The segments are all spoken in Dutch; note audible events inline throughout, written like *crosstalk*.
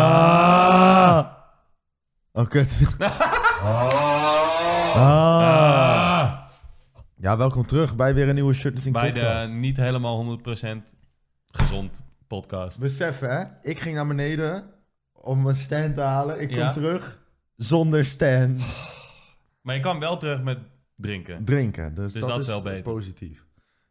Ah. Oh, kut. Ah. Ah, Ja, welkom terug bij weer een nieuwe Shirtless in bij podcast. de niet helemaal 100% gezond podcast. Besef hè, ik ging naar beneden om mijn stand te halen. Ik kom Ja. terug zonder stand. Maar je kan wel terug met drinken. Drinken, dus, Dus dat, dat is is wel beter. positief.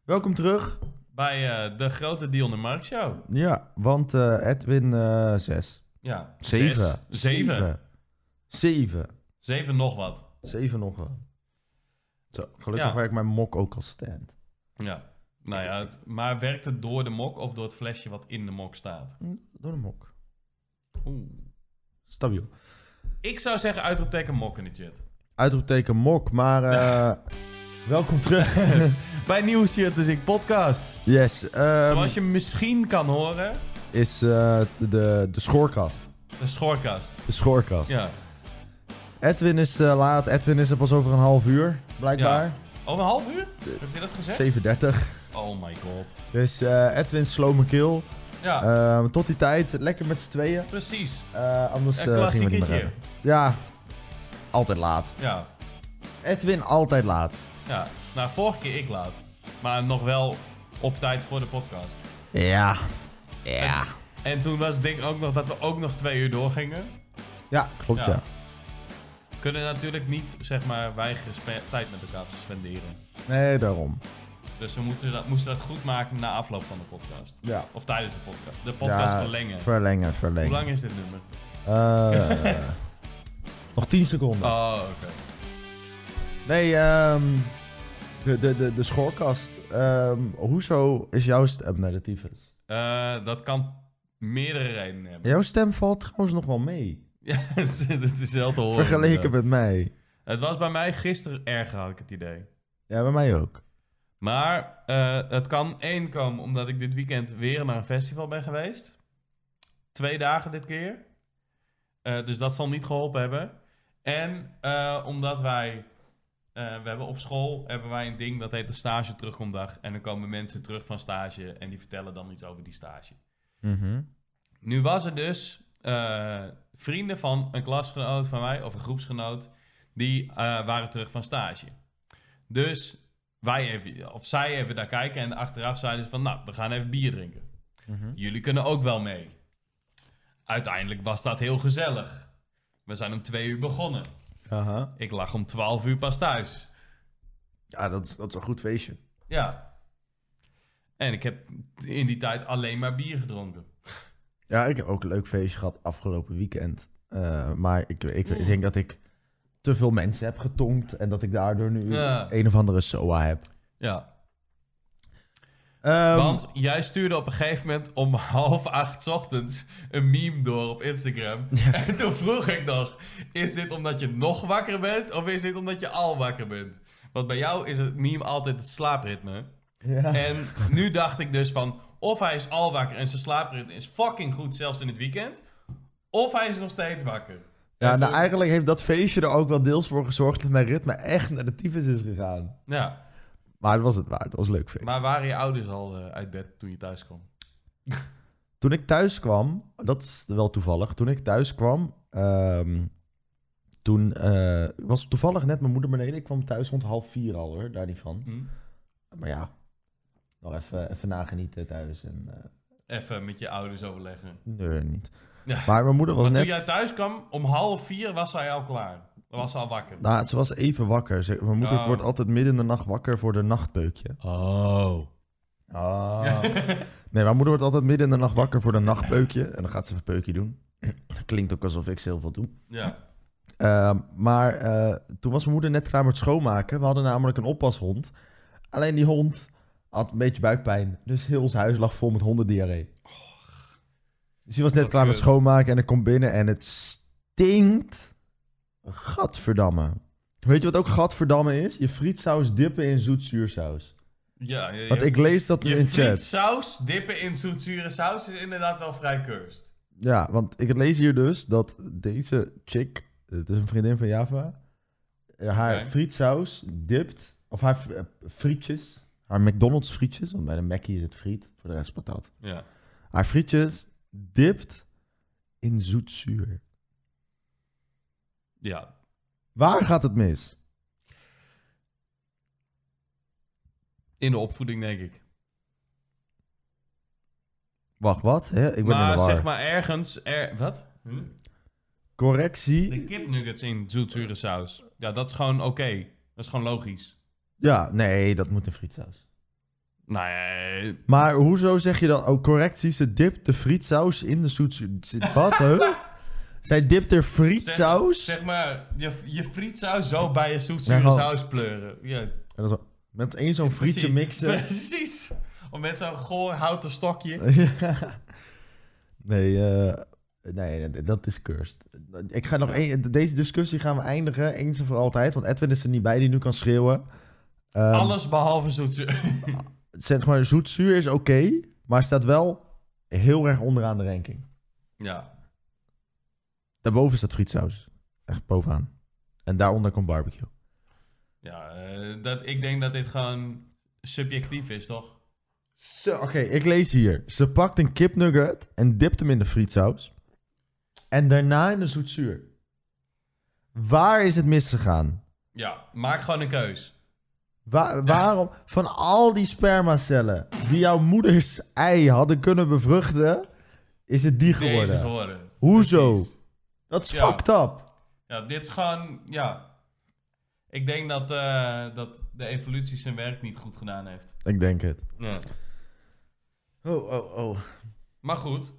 Welkom terug. Bij eh, de grote Dion de Mark Show. Ja, want eh, Edwin 6. Ja. 7. Zes. Zeven. 7. Zeven nog wat. 7 nog wel. Zo, gelukkig Ja. werkt mijn mok ook als stand. Ja. Nou ja, het- maar werkt het door de mok of door het flesje wat in de mok staat? Hm, Door de mok. Oeh. Stabiel. Ik zou zeggen uitroepteken mok in de chat. Uitroepteken mok, maar eh, *laughs* welkom terug. Bij Nieuw Shirt is ik podcast. *laughs* Yes, ehm, Zoals je misschien kan horen, is eh, de, de schoorkast. de schoorkast. De schoorkast. Ja. Edwin is eh, laat. Edwin is er pas over een half uur, blijkbaar. Over een half uur? Heeft hij dat gezegd? 7.30. Oh my god. Dus eh, Edwin slome keel. Ja, Ehm, tot die tijd, lekker met z'n tweeën. precies. Eh, anders Een eh, gingen we niet meer klassieketje. redden. Ja, altijd laat. Ja. Edwin, altijd laat. Ja, nou, vorige keer ik laat. Maar nog wel op tijd voor de podcast. Ja. Ja. En toen was het ding ook nog dat we ook nog twee uur doorgingen. Ja, klopt ja. Ja. Kunnen natuurlijk niet, zeg maar, weigeren spe- tijd met elkaar te spenderen. Nee, daarom. Dus we moeten dat, moesten dat goed maken na afloop van de podcast. Ja. Of tijdens de podcast. De podcast Ja, verlengen. Verlengen, Hoe verlengen. lang is dit nummer? Eh, *laughs* nog 10 seconden. Oh, oké. Nee, ehm, de, de, de, de schoorkast. Ehm, hoezo is jouw stem naar de tyfus? Eh, dat kan meerdere redenen hebben. Jouw stem valt trouwens nog wel mee. *laughs* Ja, het is- het is wel te horen. vergeleken inderdaad. met mij. Het was bij mij gisteren erger, had ik het idee. Ja, bij mij ook. Maar eh, het kan één komen omdat ik dit weekend weer naar een festival ben geweest. Twee dagen dit keer. Eh, dus dat zal niet geholpen hebben. En eh, omdat wij, eh, we hebben op school hebben wij een ding dat heet de stage terugkomdag. En dan komen mensen terug van stage en die vertellen dan iets over die stage. Mhm, Nu was er dus eh, vrienden van een klasgenoot van mij of een groepsgenoot, die eh, waren terug van stage. Dus wij even, of zij even daar kijken en achteraf zeiden ze van, nou, we gaan even bier drinken. mhm. Jullie kunnen ook wel mee. Uiteindelijk was dat heel gezellig. We zijn om twee uur begonnen. Aha. Ik lag om twaalf uur pas thuis. Ja, dat is, dat is een goed feestje. Ja. En ik heb in die tijd alleen maar bier gedronken. Ja, ik heb ook een leuk feestje gehad afgelopen weekend. Eh, maar ik, ik, ik denk dat ik te veel mensen heb getonkt. En dat ik daardoor nu Ja. een of andere SOA heb. Ja, Ehm, Want jij stuurde op een gegeven moment om *laughs* half acht 's ochtends een meme door op *laughs* Instagram. En toen vroeg ik nog, is dit omdat je nog wakker bent of is dit omdat je al wakker bent? Want bij jou is het meme altijd het slaapritme. Ja. *laughs* En nu dacht ik dus van, of hij is al wakker en zijn slaapritme is fucking goed, zelfs in het weekend. Of hij is nog steeds wakker. Ja, En nou toen- eigenlijk heeft dat feestje er ook wel deels voor gezorgd dat mijn ritme echt naar de tyfus is gegaan. ja, Maar dat was het waard, dat was een leuk feest. maar waren je ouders al eh, uit bed toen je thuis kwam? Toen ik thuis kwam, dat is wel toevallig, toen ik thuis kwam, ehm, toen eh, was toevallig net mijn moeder beneden. Ik kwam thuis rond half vier al hoor, daar niet van. Hm? Maar ja, nog even, even nagenieten thuis. En, eh, Even met je ouders overleggen. nee, niet. Ja. Maar mijn moeder was Maar net, toen jij thuis kwam, om half vier was zij al klaar. Dan was ze al wakker. nou ze was even wakker. Ze- mijn moeder Oh. wordt altijd midden in de nacht wakker voor de nachtbeukje. Oh. Ah. *laughs* Nee, mijn moeder wordt altijd midden in de nacht wakker voor een nachtpeukje. En dan gaat ze een peukje doen. *clears throat* Klinkt ook alsof ik ze heel veel doe. Ja. Ehm, maar eh, toen was mijn moeder net klaar met schoonmaken. We hadden namelijk een oppashond. Alleen die hond had een beetje buikpijn. Dus heel ons huis lag vol met hondendiarree. Dus die was net Wat klaar met kut. schoonmaken en ik kom binnen en het stinkt. Gadverdamme. Weet je wat ook gadverdamme is? Je frietsaus dippen in zoetzuursaus. ja, ja, ja. Want ik lees dat nu je in friet chat. saus dippen in zoetzure saus is inderdaad wel vrij cursed. Ja, want ik lees hier dus dat deze chick, het is een vriendin van Java, eh, haar Oké. frietsaus dipt, of haar fr- eh, frietjes, haar McDonald's frietjes, want bij de Mackie is het friet, voor de rest patat. Ja. Haar frietjes dipt in zoetzuur. Ja, Waar gaat het mis? in de opvoeding denk ik. Wacht, wat? Hè? Ik ben in maar de war. zeg maar ergens... Er, wat? Correctie. De kipnuggets in zoetzure saus. Ja, dat is gewoon oké. Dat is gewoon logisch. Ja, nee, dat moet in frietsaus. Nee, Maar hoezo zeg je dan ook correctie? Ze dipt de frietsaus in de zoetzuur. Zit- Wat, *laughs* hè? Zij dipt er frietsaus? zeg maar, je, je frietsaus zo bij je zoetzure Ja, gewoon- saus pleuren. Ja, En dan zo, met één zo'n frietje precies. *laughs* mixen. *laughs* Precies. Of met zo'n goor houten stokje. Ja. nee, eh, nee, dat is cursed. Ik ga nog één, deze discussie gaan we eindigen, eens en voor altijd. Want Edwin is er niet bij, die nu kan schreeuwen. Ehm, Alles behalve *laughs* zoetzure. Zeg maar, zoetzuur is oké, maar staat wel heel erg onderaan de ranking. Ja. Daarboven staat frietsaus. Echt bovenaan. En daaronder komt barbecue. Ja, eh, dat, ik denk dat dit gewoon subjectief is, toch? Zo, oké, ik lees hier. Ze pakt een kipnugget en dipt hem in de frietsaus. En daarna in de zoetzuur. Waar is het misgegaan? Ja, maak gewoon een keus. Wa- waarom van al die spermacellen die jouw moeders ei hadden kunnen bevruchten, is het die geworden? Deze geworden. Hoezo? Precies. Dat is Ja. fucked up. Ja, dit is gewoon, ja. Ik denk dat, eh, dat de evolutie zijn werk niet goed gedaan heeft. Ik denk het. Ja. Oh, oh, oh. Maar goed.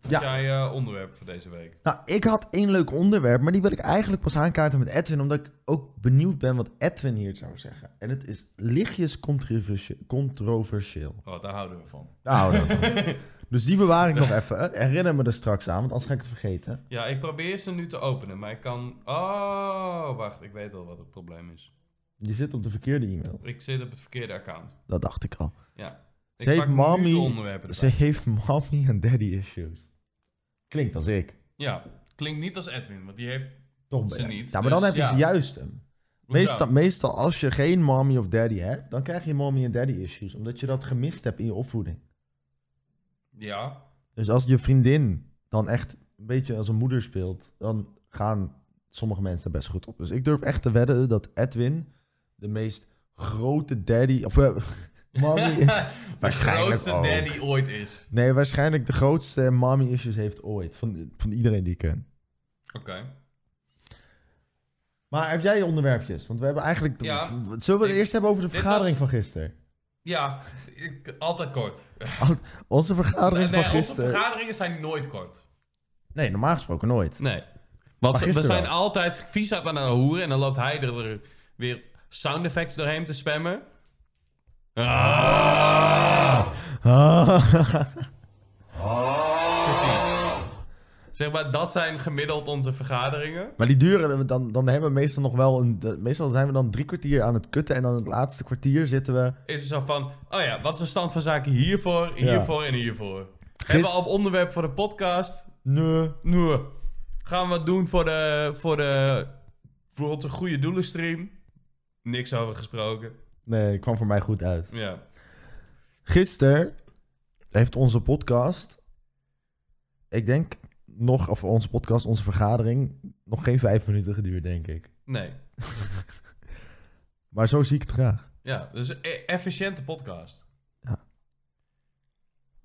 Wat Ja. jij eh, onderwerp voor deze week? Nou, ik had één leuk onderwerp, maar die wil ik eigenlijk pas aankaarten met Edwin, omdat ik ook benieuwd ben wat Edwin hier zou zeggen. En het is lichtjes controversie- controversieel. Oh, daar houden we van. Nou, dan. *laughs* dus die bewaar ik nog even. Herinner me er straks aan, want anders ga ik het vergeten. Ja, ik probeer ze nu te openen, maar ik kan... Oh, wacht. Ik weet al wat het probleem is. Je zit op de verkeerde e-mail. Ik zit op het verkeerde account. Dat dacht ik al. Ja. Ze heeft nu de mommy- onderwerpen erbij. Ze heeft mommy en daddy issues. Klinkt als ik. Ja, klinkt niet als Edwin, want die heeft... Toch Ze ben- niet, Ja, maar dus dan heb je ja. ze juist hem. Hoezo? Meestal, meestal als je geen mommy of daddy hebt, dan krijg je mommy en daddy issues. Omdat je dat gemist hebt in je opvoeding. Ja. Dus als je vriendin dan echt een beetje als een moeder speelt, dan gaan sommige mensen er best goed op. Dus ik durf echt te wedden dat Edwin de meest grote daddy. Of eh, *laughs* mommy. *laughs* de Waarschijnlijk grootste ook. daddy ooit is. nee, waarschijnlijk de grootste mommy issues heeft ooit. Van, van iedereen die ik ken. Oké. Maar heb jij onderwerpjes? Want we hebben eigenlijk. Ja. v- Zullen we het Ik- eerst hebben over de dit vergadering van gisteren? Ja, ik, altijd kort. Eh, Onze vergadering Nee, van onze gisteren. vergaderingen zijn nooit kort. Nee, normaal gesproken *laughs* nooit. Nee. Maar Want ze- we gisteren zijn wel. altijd vies aan het hoeren en dan loopt hij er weer sound effects doorheen te spammen. Ah, precies. Zeg maar, dat zijn gemiddeld onze vergaderingen. Maar die duren, dan, dan hebben we meestal nog wel een. de- Meestal zijn we dan drie kwartier aan het kutten. En dan het laatste kwartier zitten we. Is er zo van, oh ja, wat is de stand van zaken hiervoor, hiervoor en hiervoor? Hebben we al een onderwerp voor de podcast? Nee. Nee. Gaan we wat doen voor de, voor de, voor onze goede doelenstream? Niks over gesproken. Nee, kwam voor mij goed uit. Ja. Gisteren heeft onze podcast. Ik denk nog, of onze podcast, onze vergadering. nog geen vijf minuten geduurd, denk ik. Nee. Maar zo zie ik het graag. Ja, dus een e- efficiënte podcast.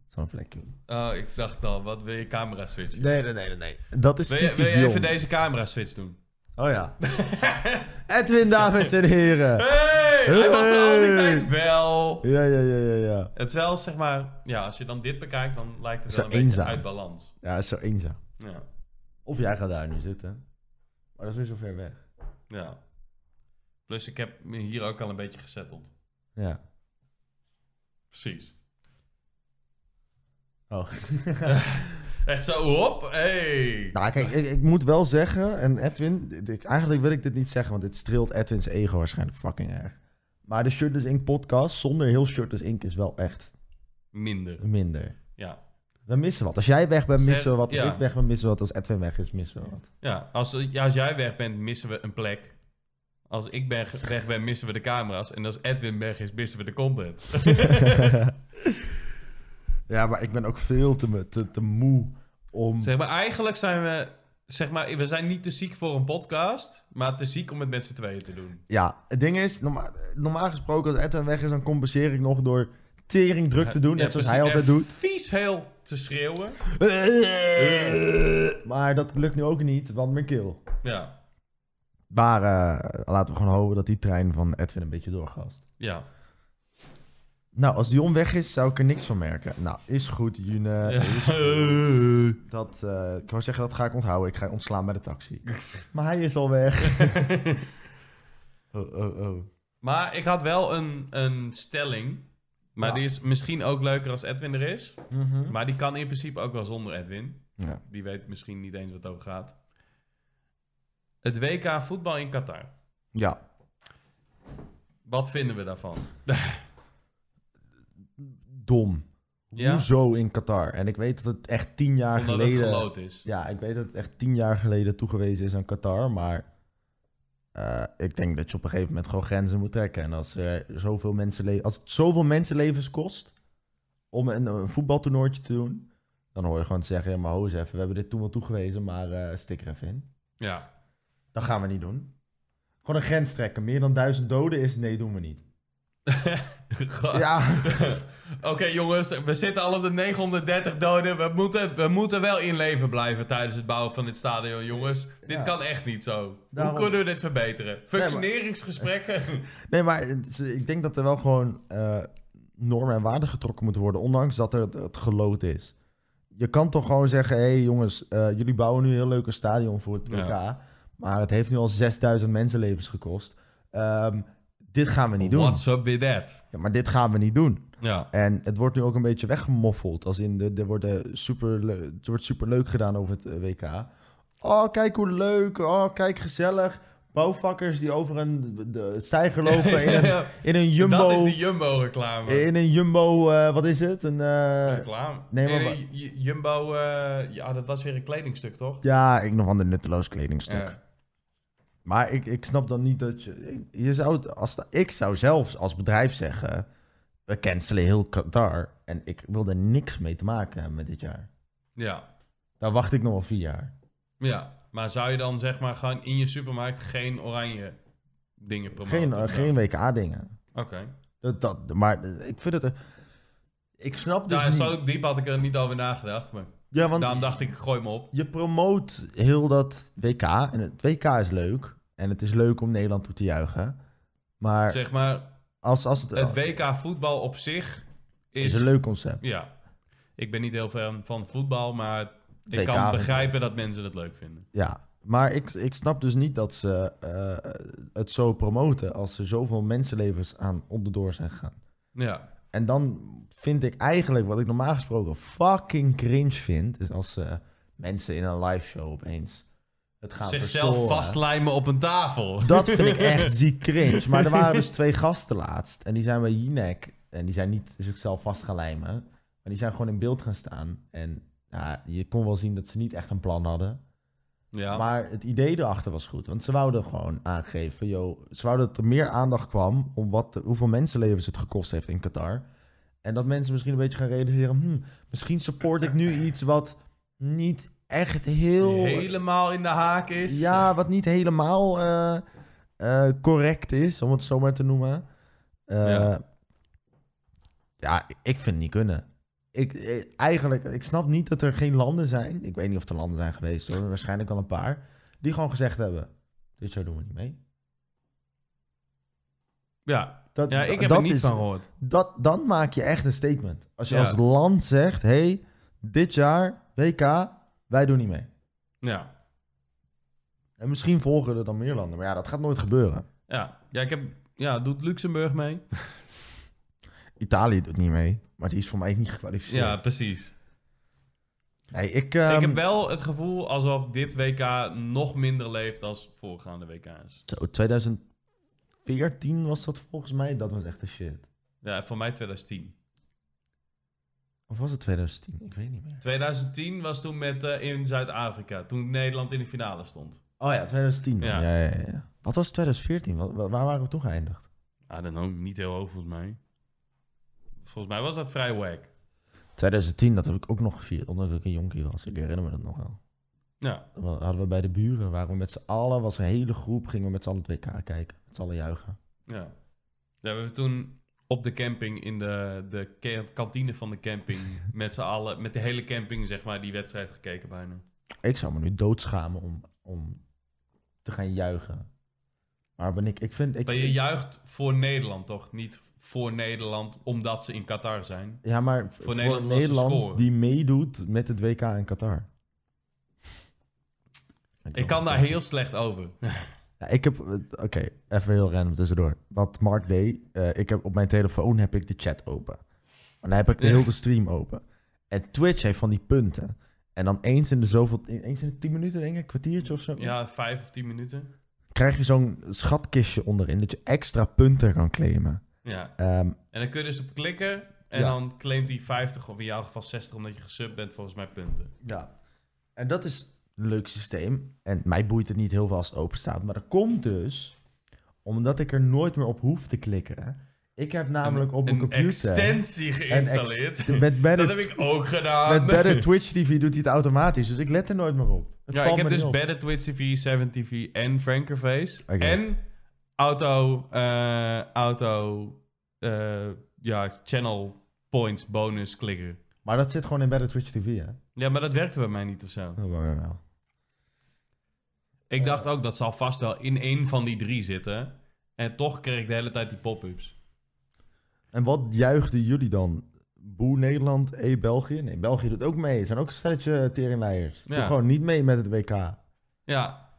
Zo'n vlekje. Oh, ik dacht al, wat wil je camera switchen? Nee, nee, nee, nee. nee. Dat is Wil typisch je, wil je Dion. even deze camera switch doen? Oh *laughs* ja. Edwin, dames en heren. Hey, hij was er al die Hey. tijd wel. Ja, ja, ja, ja, ja. Het is wel, zeg maar, ja, als je dan dit bekijkt, dan lijkt het Zo wel een beetje eenzaam. uit balans. Ja, is zo eenzaam. Ja, Of jij gaat daar nu zitten. Maar dat is weer zo ver weg. ja. Plus, ik heb me hier ook al een beetje gezetteld. Ja. Precies. Oh. Echt zo, hop, hey. *laughs* Nou, kijk, ik, ik moet wel zeggen, en Edwin, dit- ik, eigenlijk wil ik dit niet zeggen, want dit streelt Edwins ego waarschijnlijk fucking erg. Maar de Shirtless Ink podcast zonder heel Shirtless Ink is wel echt Minder, minder. ja. We missen wat. Als jij weg bent, missen we wat. Als Ja. ik weg ben, missen we wat. Als Edwin weg is, missen we wat. *laughs* Ja, als, ja, als jij weg bent, missen we een plek. Als ik ben, weg ben, missen we de camera's. En als Edwin weg is, missen we de content. ja, maar ik ben ook veel te, me- te, te moe om... Zeg maar, eigenlijk zijn we... Zeg maar, we zijn niet te ziek voor een podcast, maar te ziek om het met z'n tweeën te doen. Ja, het ding is, norma- normaal gesproken als Edwin weg is, dan compenseer ik nog door tering druk te doen, Ja, net zoals hij precies. altijd En doet. Vies heel te schreeuwen. Maar dat lukt nu ook niet, want mijn keel. Ja, Maar eh, laten we gewoon hopen dat die trein van Edwin een beetje doorgast. ja. Nou, als Dion weg is, zou ik er niks van merken. Nou, is goed, June. Is goed. *laughs* Dat, eh, ik wou zeggen, dat ga ik onthouden. Ik ga je ontslaan bij de taxi. Maar hij is al weg. *laughs* Oh, oh, oh. Maar ik had wel een, een stelling. Maar Ja. die is misschien ook leuker als Edwin er is. Mhm. Maar die kan in principe ook wel zonder Edwin. Ja. Die weet misschien niet eens wat het over gaat. Het WK voetbal in Qatar. ja. Wat vinden we daarvan? Dom. Ja? Hoezo in Qatar? En ik weet dat het echt tien jaar Omdat geleden... het geloot is. Ja, ik weet dat het echt tien jaar geleden toegewezen is aan Qatar, maar eh, ik denk dat je op een gegeven moment gewoon grenzen moet trekken. En als, er zoveel mensenle- als het zoveel mensenlevens kost om een, een voetbaltoernooitje te doen, dan hoor je gewoon te zeggen, ja maar ho eens even, we hebben dit toen wel toegewezen, maar eh stik er even in. Ja. Dat gaan we niet doen. Gewoon een grens trekken. Meer dan duizend doden is, nee, doen we *laughs* niet. *laughs* Ga- Ja, *laughs* Oké jongens, we zitten al op de 930 doden. We moeten, we moeten wel in leven blijven tijdens het bouwen van dit stadion, jongens. Dit Ja. kan echt niet zo. Daarom- Hoe kunnen we dit verbeteren? Functioneringsgesprekken? Nee, maar het is- ik denk dat er wel gewoon eh, normen en waarden getrokken moeten worden, ondanks dat er het, het geloot is. Je kan toch gewoon zeggen, hé hey jongens, eh, jullie bouwen nu een heel leuk stadion voor het WK, Ja. maar het heeft nu al 6000 mensenlevens gekost. Ehm, dit gaan we niet doen. What's up with that? Ja, maar dit gaan we niet doen. Ja. En het wordt nu ook een beetje weggemoffeld, als in de, er wordt, eh, super, het wordt super leuk gedaan over het eh, WK. Oh, kijk hoe leuk, oh, kijk gezellig. Bouwvakkers die over een de, stijger lopen *laughs* in een in een Jumbo. Dat is de Jumbo-reclame. In een Jumbo, eh, wat is het? Een, eh, reclame. nee, maar In wa- een Ju- Jumbo, eh, ja, dat was weer een kledingstuk, toch? ja, ik nog ander nutteloos kledingstuk. Ja. Maar ik, ik snap dan niet dat je. je zou, het als, ik zou zelfs als bedrijf zeggen. We cancelen heel Qatar. En ik wil er niks mee te maken hebben met dit jaar. ja. Dan wacht ik nog wel vier jaar. Ja. Maar zou je dan zeg maar gewoon in je supermarkt geen oranje dingen promoten? Geen, eh, of zo? geen WK-dingen. Oké. Dat, dat, maar ik vind het. eh, Ik snap dus. nou, niet. zo diep had ik er niet over nagedacht, maar Ja, want daarom dacht ik, ik gooi me op. je promoot heel dat WK. En het WK is leuk. En het is leuk om Nederland toe te juichen. Maar Zeg maar, als, als het, het WK voetbal op zich is... is een leuk concept. ja. Ik ben niet heel fan van voetbal, maar ik WK kan begrijpen dat mensen het leuk vinden. Ja, maar ik, ik snap dus niet dat ze eh, het zo promoten als er zoveel mensenlevens aan onderdoor zijn gegaan. Ja. En dan vind ik eigenlijk wat ik normaal gesproken fucking cringe vind, is als eh, mensen in een live show opeens het gaan Zichzelf verstoren. vastlijmen op een tafel. Dat vind ik echt ziek cringe. Maar er waren dus twee gasten laatst. En die zijn bij Jinek. En die zijn niet zichzelf vast gaan lijmen. Maar die zijn gewoon in beeld gaan staan. En ja, je kon wel zien dat ze niet echt een plan hadden. Ja. Maar het idee erachter was goed. Want ze wouden gewoon aangeven. Yo, ze wouden dat er meer aandacht kwam. om wat, de- hoeveel mensenlevens het gekost heeft in Qatar. En dat mensen misschien een beetje gaan realiseren. hmm, misschien support ik nu iets wat niet echt heel. helemaal in de haak is. eh, Ja, wat niet helemaal eh, eh, correct is, om het zo maar te noemen. Eh, Ja. ja. ik vind het niet kunnen. Ik, ik- eigenlijk, ik snap niet dat er geen landen zijn. Ik weet niet of er landen zijn geweest hoor, waarschijnlijk al een paar. Die gewoon gezegd hebben: Dit jaar doen we niet mee. Ja, Dat, ja ik heb dat er niet is- van gehoord. dat, Dan maak je echt een statement. Als je Ja. als land zegt: hey, dit jaar, WK, wij doen niet mee. Ja. En misschien volgen er dan meer landen. Maar ja, dat gaat nooit gebeuren. Ja. ja, ik heb... Ja, doet Luxemburg mee? Italië doet niet mee, maar die is voor mij niet gekwalificeerd. Ja, precies. Nee, ik, ehm, ik heb wel het gevoel alsof dit WK nog minder leeft als voorgaande WK's. zo, 2014 was dat volgens mij, dat was echt de shit. Ja, voor mij 2010. Of was het 2010? Ik weet niet meer. 2010 was toen met, eh, in Zuid-Afrika, toen Nederland in de finale stond. Oh ja, 2010. Ja. Ja. Ja, ja, ja. Wat was 2014? Wa- wa- Waar waren we toen geëindigd? I don't know, niet heel hoog volgens mij. Volgens mij was dat vrij wack. 2010, dat heb ik ook nog gevierd, omdat ik een jonkie was. Ik herinner me dat nog wel. Ja. Dan hadden we bij de buren, waren we met z'n allen, was een hele groep, gingen we met z'n allen het WK kijken. Met z'n allen juichen. Ja. ja, we hebben toen op de camping, in de, de ke- kantine van de camping, *laughs* met z'n allen, met de hele camping, zeg maar, die wedstrijd gekeken bijna. Ik zou me nu doodschamen om, om te gaan juichen. Maar ben ik, ik vind... Ik, Maar je juicht voor Nederland toch? Niet voor Nederland omdat ze in Qatar zijn. ja, maar voor, Nederland Nederland, was de score. die meedoet met het WK in Qatar. Ik kan daar heel slecht over. *laughs* Ja, ik heb... eh, Oké, even heel random tussendoor. Wat Mark deed, eh, ik heb, op mijn telefoon heb ik de chat open. En dan heb ik Ja. heel de stream open. En Twitch heeft van die punten. En dan eens in de zoveel... Eens in de tien minuten, denk ik, een kwartiertje of zo. Ja, vijf of tien minuten. Krijg je zo'n schatkistje onderin, dat je extra punten kan claimen. Ja. Ehm, En dan kun je dus op klikken en Ja. dan claimt die 50 of in jouw geval 60 omdat je gesub bent volgens mij punten. Ja. En dat is een leuk systeem. En mij boeit het niet heel veel als het open staat. Maar dat komt dus omdat ik er nooit meer op hoef te klikken. Ik heb namelijk op mijn een computer... extensie ex- geïnstalleerd. met *laughs* dat Better, heb ik ook gedaan. met Better Twitch TV doet hij het automatisch. Dus ik let er nooit meer op. Het ja, valt ik me heb niet dus op. Better Twitch TV, 7 TV en Frankerface. Oké. En auto, eh, auto eh, ja, channel points bonus klikken. Maar dat zit gewoon in Better Twitch TV, hè? Ja, maar dat werkte bij mij niet of zo. Oh, wel, wel, wel. Ik dacht ook, dat zal vast wel in één van die drie zitten. En toch kreeg ik de hele tijd die pop-ups. En wat juichten jullie dan? Boe Nederland, E België? Nee, België doet ook mee. Zijn ook een stelletje teringleiers. Doe Ja. gewoon niet mee met het WK. Ja.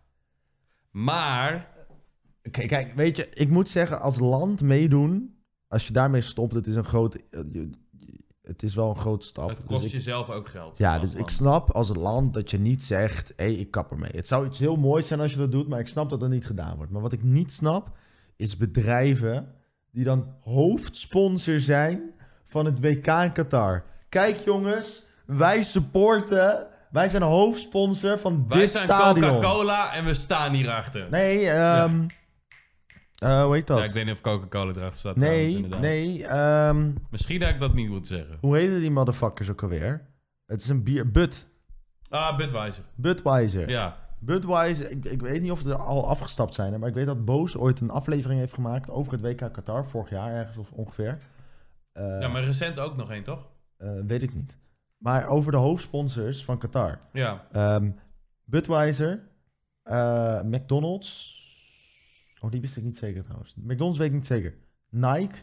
Maar, Kijk, kijk, weet je, ik moet zeggen, als land meedoen, als je daarmee stopt, het is een groot, eh, je- je- het is wel een grote stap. het Dus kost ik- jezelf ook geld. ja, als dus man. ik snap als land dat je niet zegt, hé, ik kap ermee. Het zou iets heel moois zijn als je dat doet, maar ik snap dat dat niet gedaan wordt. Maar wat ik niet snap, is bedrijven die dan hoofdsponsor zijn van het WK in Qatar. Kijk jongens, wij supporten, wij zijn hoofdsponsor van Wij dit zijn stadion. Coca-Cola en we staan hierachter. Nee, ehm eh, hoe heet dat? Ja, ik weet niet of Coca-Cola erachter staat. trouwens, Nee, inderdaad. nee. ehm, Misschien had ik dat niet moeten zeggen. hoe heette die motherfuckers ook alweer? Het is een bier. Bud. Ah, Budweiser. Budweiser. Ja. Budweiser. Ik, ik weet niet of ze er al afgestapt zijn. Maar ik weet dat Boos ooit een aflevering heeft gemaakt over het WK Qatar. Vorig jaar ergens of ongeveer. Eh, ja, maar recent ook nog één, toch? eh, weet ik niet. Maar over de hoofdsponsors van Qatar. Ja. Ehm, Budweiser. eh, McDonald's. Oh, die wist ik niet zeker trouwens. McDonald's weet ik niet zeker. Nike.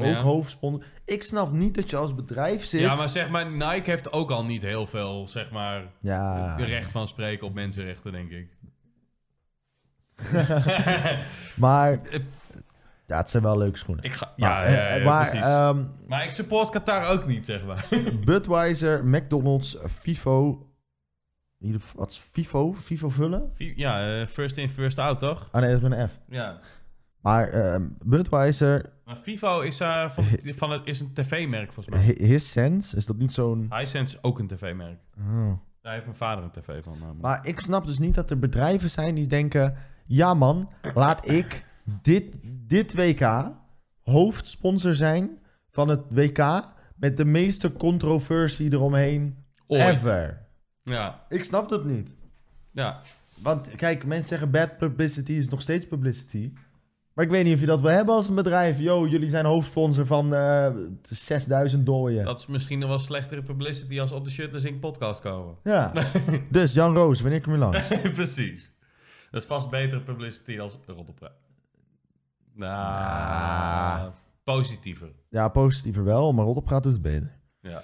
Ook ja. hoofdsponsor. Ik snap niet dat je als bedrijf zit. Ja, maar zeg maar, Nike heeft ook al niet heel veel, zeg maar, Ja. recht van spreken op mensenrechten, denk ik. *laughs* Maar ja, het zijn wel leuke schoenen. ik ga, ja, Maar, ja, ja, eh, ja, maar precies. ehm, maar ik support Qatar ook niet, zeg maar. *laughs* Budweiser, McDonald's, FIFO. in ieder geval- Wat is FIFO? FIFO vullen? Ja, eh, first in, first out, toch? Ah nee, dat is met een F. Ja. Maar ehm, Budweiser, Maar FIFO is, eh, van, *laughs* van het, is een tv-merk, volgens mij. Hi- His Sense, is dat niet zo'n... Hisense is ook een tv-merk. Oh. Daar heeft mijn vader een tv van. namelijk. Maar ik snap dus niet dat er bedrijven zijn die denken... Ja man, laat ik dit, dit WK hoofdsponsor zijn van het WK... met de meeste controversie eromheen Ooit. ever. Ja, Ik snap dat niet. ja. Want kijk, mensen zeggen bad publicity is nog steeds publicity. Maar ik weet niet of je dat wil hebben als een bedrijf. Yo, jullie zijn hoofdsponsor van eh 6000 dooien. Dat is misschien nog wel slechtere publicity als op de Shutters Inc. podcast komen. *laughs* Ja. dus Jan Roos, wanneer kom je langs? *laughs* Precies. Dat is vast betere publicity als roddelpraat. Nou, Ah. positiever. Ja, positiever wel, maar roddelpraat is het beter. Ja.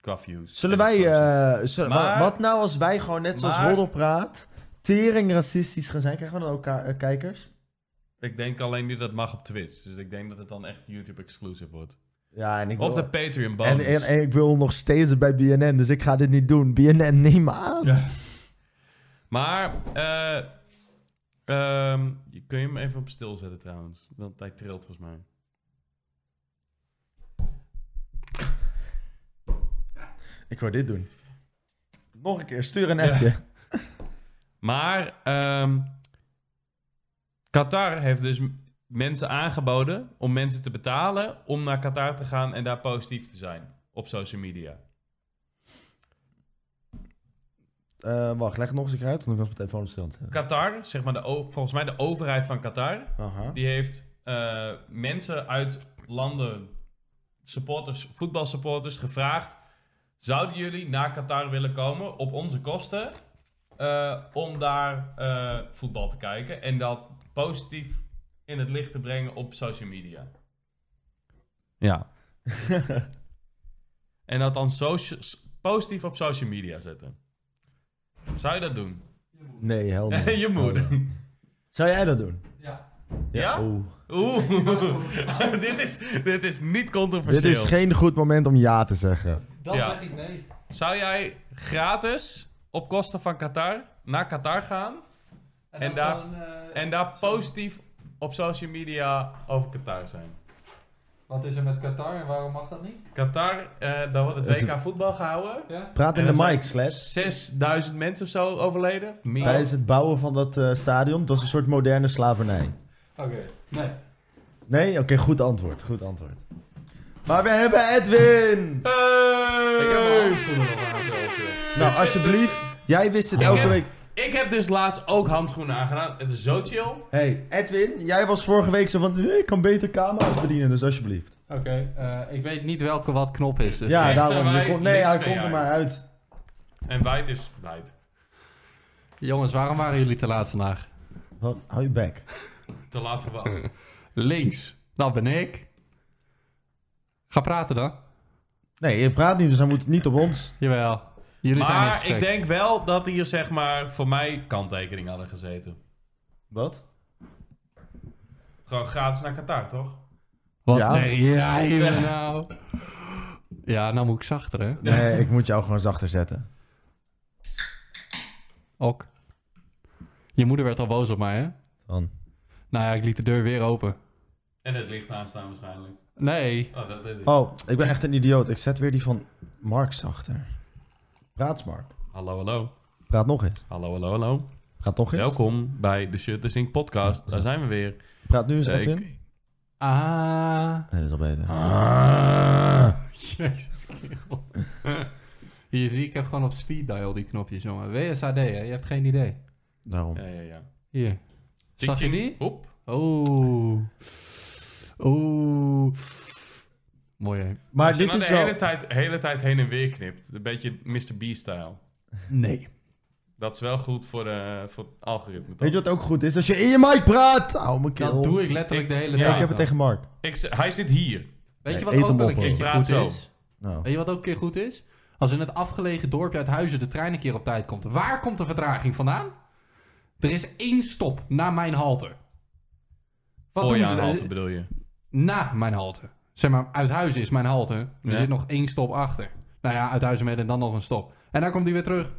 Qua views. Zullen En wij... qua- eh, zullen- wa- Maar- wat nou als wij gewoon net zoals Maar- roddelpraat... tering racistisch gaan zijn? Krijgen we dan ook ka- eh, kijkers? Ik denk alleen niet dat het mag op Twitch. Dus ik denk dat het dan echt YouTube-exclusive wordt. Ja, en ik wil... Of de patreon bonus. en, en, en ik wil nog steeds bij BNN, dus ik ga dit niet doen. BNN, neem me aan. Ja. Maar, eh, ehm, je- kun je hem even op stil zetten trouwens? Want hij trilt volgens mij. Ik wou dit doen. Nog een keer, stuur een Ja. appje. Maar ehm, Qatar heeft dus m- mensen aangeboden om mensen te betalen om naar Qatar te gaan en daar positief te zijn. op social media. Eh, wacht, leg het nog eens een keer uit, want ik was mijn telefoon op stand. Qatar, zeg maar de, o- volgens mij de overheid van Qatar, Aha. die heeft eh, mensen uit landen, supporters, voetbalsupporters, gevraagd: zouden jullie naar Qatar willen komen op onze kosten eh, om daar eh, voetbal te kijken en dat positief in het licht te brengen op social media? Ja. *laughs* en dat dan socia- s- positief op social media zetten. Zou je dat doen? Nee, hel nee. *laughs* je moeder. Hel nee. Zou jij dat doen? Ja. Ja? oeh. Oeh, *laughs* dit, is, dit is niet controversieel. Dit is geen goed moment om ja te zeggen. Dan Ja. zeg ik nee. Zou jij gratis op kosten van Qatar naar Qatar gaan En, En dan daar- zo'n, eh, en daar zo'n- positief op social media over Qatar zijn? Wat is er met Qatar en waarom mag dat niet? Qatar, eh daar wordt het WK voetbal gehouden. Ja? Praat in En de dan mic, zijn Sled. 6000 mensen of zo overleden. Meer. Tijdens het bouwen van dat eh, stadion, dat was een soort moderne slavernij. Oké. Nee. Nee? Oké, goed antwoord. Goed antwoord. Maar we hebben Edwin! Hey! Ik heb mijn handschoenen nog aan zelf, joh. Nou, alsjeblieft. Jij wist het Ik elke heb- week. Ik heb dus laatst ook handschoenen aangedaan. Het is zo chill. Hey, Edwin, jij was vorige week zo van, "Eh, ik kan beter camera's bedienen, dus alsjeblieft. Oké, eh, ik weet niet welke wat knop is. Dus Ja, rechts daarom. zijn wij, je kon- nee, links hij ben komt er jij. maar uit. En wijd is wijd. Jongens, waarom waren jullie te laat vandaag? Wat? Hou je bek. Te laat voor wat. Links. Dat ben ik. Ga praten dan. Nee, je praat niet, dus hij moet niet op ons. Jawel. Jullie zijn in Maar gesprek. ik denk wel dat hier zeg maar voor mij kanttekening hadden gezeten. Wat? Gewoon gratis naar Qatar, toch? Wat Ja. zeg jij me nou? Ja, nou moet ik zachter, hè? *laughs* Nee, ik moet jou gewoon zachter zetten. Ook. Je moeder werd al boos op mij, hè? Dan. Nou ja, ik liet de deur weer open. En het licht aanstaan waarschijnlijk. Nee. Oh, dat, dat- Oh, ik ben echt een idioot. Ik zet weer die van Mark zachter. Praat, Mark. Hallo, hallo. Praat nog eens. Hallo, hallo, hallo. Praat nog eens. Welkom bij de Shut the Sink podcast. Daar zijn we weer. Praat nu eens, Eh, ik- Edwin. Ah. Nee, dat is al beter. *laughs* Jezus, kerel. Hier zie ik heb gewoon op speed dial die knopjes, jongen. WSAD, hè? Je hebt geen idee. Daarom. Ja, ja, ja. Hier. Zag je Tik, tik. die? Oep. Oeh. Oeh. Oh. Mooi, hè? Maar Als je dit nou is de wel... hele, tijd, hele tijd heen en weer knipt. Een beetje Mr. B-style. Nee. Dat is wel goed voor, de, voor het algoritme. Weet Toch? je wat ook goed is? Als je in je mic praat! Hou mijn keel. Dat doe ik letterlijk de hele Ik- tijd. ja, Ik heb het dan. tegen Mark. Ik, z- hij zit hier. Weet je Nee, wat eet ook hem wel op, een hoor. keertje Ik praat goed zo. is? Nou. Weet je wat ook een keer goed is? Als in het afgelegen dorpje uit Huizen de trein een keer op tijd komt. Waar komt de vertraging vandaan? Er is één stop na mijn halte. Wat voor je doen aan ze? halte bedoel je. Na mijn halte. Zeg maar, uit Huizen is mijn halte. Er Ja. zit nog één stop achter. Nou ja, uit Huizen met en dan nog een stop. En daar komt die weer terug.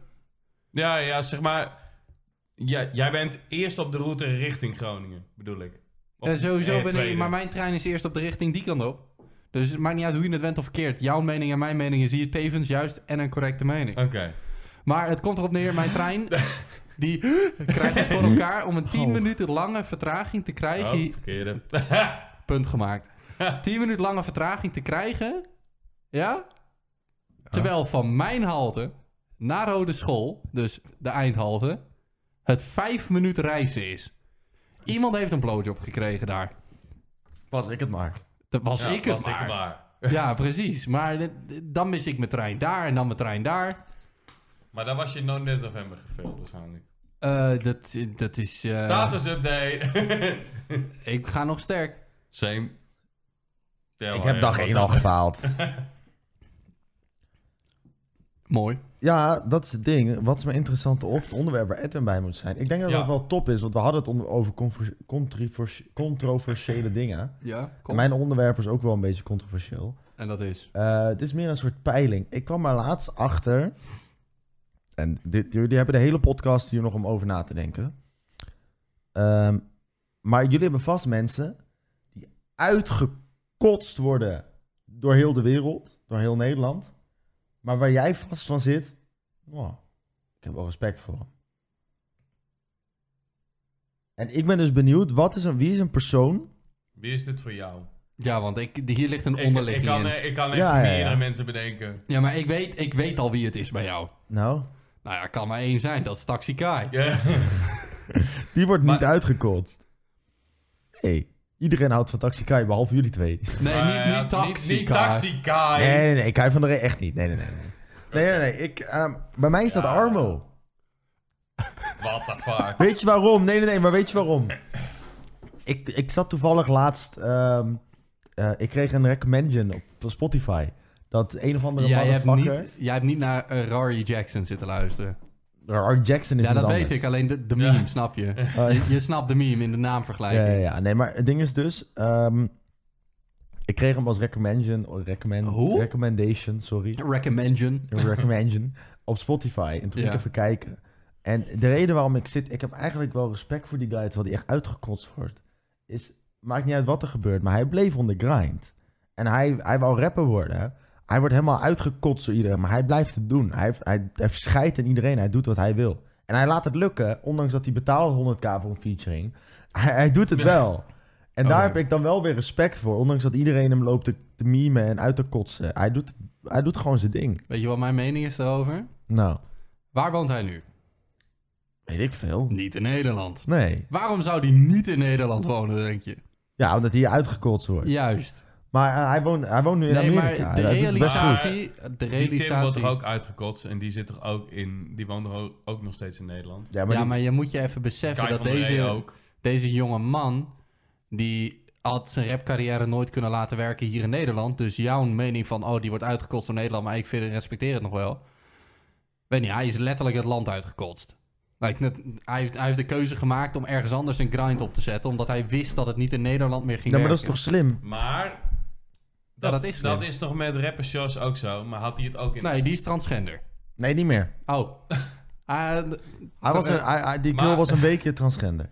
Ja, ja, zeg maar. Ja, jij bent eerst op de route richting Groningen, bedoel ik. Of- En sowieso eh, ben ik, tweede. maar mijn trein is eerst op de richting die kant op. Dus het maakt niet uit hoe je het went of verkeerd. Jouw mening en mijn mening is hier tevens juist en een correcte mening. Oké. Maar het komt erop neer, mijn *laughs* trein... die krijgt het voor elkaar om een 10 minuten lange vertraging te Oh, krijgen. verkeerde. Punt gemaakt. 10 minuten lange vertraging te krijgen. Ja? Terwijl van mijn halte naar Rode School, dus de eindhalte, het 5 minuten reizen is. Dus- Iemand heeft een blowjob gekregen daar. Was ik het maar. Dat *laughs* was Ja, ik het was maar. het maar. *laughs* Ja, precies. Maar dit- dit- dan mis ik mijn trein daar en dan mijn trein daar. Maar dan was je nou net november gefilmd waarschijnlijk. Eh, dat, dat is... eh, Status update. *laughs* Ik ga nog sterk. Same. Ja, Ik maar, heb ja, dag was 1 al dat- gefaald. *laughs* Mooi. Ja, dat is het ding. Wat is mijn interessante op onderwerp waar Edwin bij moet zijn? Ik denk dat Ja. dat wel top is, want we hadden het on- over conver- controversi- controversiële dingen. Ja, En kom. mijn onderwerp is ook wel een beetje controversieel. En dat is... Eh, het is meer een soort peiling. Ik kwam maar laatst achter. En dit, jullie hebben de hele podcast hier nog om over na te denken. Ehm, maar jullie hebben vast mensen die uitgekotst worden door heel de wereld, door heel Nederland. Maar waar jij vast van zit, wow, ik heb wel respect voor hem. En ik ben dus benieuwd, wat is een, wie is een persoon Wie is dit voor jou? Ja, want ik, hier ligt een Ik- onderligging ik, kan, in. eh, ik kan echt Ja, ja, ja. meerdere mensen bedenken. *laughs* Ja, maar ik weet, ik weet al wie het is bij jou. Nou, Nou ja, kan maar één zijn. Dat is Taxi Kai. Ja. die wordt niet Maar- uitgekotst. Hey, iedereen houdt van Taxi Kai, behalve jullie twee. Nee, Maar niet, Nou ja, niet Taxi Niet, niet Kai. Taxi Kai. Nee, nee, nee, ik hou van de re- echt niet. Nee, nee, nee. Nee, nee, nee. nee, Ik, ehm, bij mij is dat Ja. Armo. What the fuck. Weet je waarom? Nee, nee, nee, maar weet je waarom? Ik, ik zat toevallig laatst... ehm, eh, ik kreeg een recommendation op Spotify. Dat een of andere Jij hebt, motherfucker... niet, jij hebt niet naar eh, Rory Jackson zitten luisteren. Art Jackson is Ja, dat iemand weet anders. ik. Alleen de, de Ja. meme, snap je? *laughs* Oh, ja. je? Je snapt de meme in de naamvergelijking. Ja, ja, ja. Nee, maar het ding is dus... ehm, ik kreeg hem als recommendation... oh, Recommend, Hoe? recommendation, sorry. Recommendation. Een recommendation op Spotify. En toen ging Ja. ik even kijken. En de reden waarom ik zit... Ik heb eigenlijk wel respect voor die guy... terwijl hij echt uitgekotst wordt. Is, maakt niet uit wat er gebeurt, maar hij bleef on the grind. En hij, hij wou rapper worden. Hij wordt helemaal uitgekotst door iedereen, maar hij blijft het doen. Hij, heeft- hij, hij scheidt aan iedereen, hij doet wat hij wil. En hij laat het lukken, ondanks dat hij betaalt 100k voor een featuring. Hij, hij doet het wel. En Oh, daar ja. heb ik dan wel weer respect voor. Ondanks dat iedereen hem loopt te, te memen en uit te kotsen. Hij doet, hij doet gewoon zijn ding. Weet je wat mijn mening is daarover? Nou, Waar woont hij nu? weet ik veel. Niet in Nederland. Nee. Waarom zou die niet in Nederland wonen, denk je? Ja, omdat hij hier uitgekotst wordt. Juist. Maar eh, hij, woont, hij woont nu in Nee, Amerika. maar de Hij doet het best goed. realisatie... De Die Tim wordt toch realisatie... ook uitgekotst en die zit toch ook in... Die woont toch ook, ook nog steeds in Nederland. Ja, maar Ja, die- maar je moet je even beseffen Kai dat van der Rey deze, ook. deze jonge man... die had zijn rapcarrière nooit kunnen laten werken hier in Nederland. Dus jouw mening van... oh, die wordt uitgekotst door Nederland... maar ik vind, respecteer het nog wel. Weet niet, hij is letterlijk het land uitgekotst. Like, net, hij, heeft- hij heeft de keuze gemaakt om ergens anders een grind op te zetten... omdat hij wist dat het niet in Nederland meer ging ja, maar dat is werken. toch slim? Maar... Dat, dat dat, is is, slim. toch met rapper Josh ook zo? Maar had hij het ook in... Nee, die is transgender. Nee, niet meer. *laughs* Oh. Ah, d- Hij was een, hij- hij- die Maar- girl was een weekje transgender.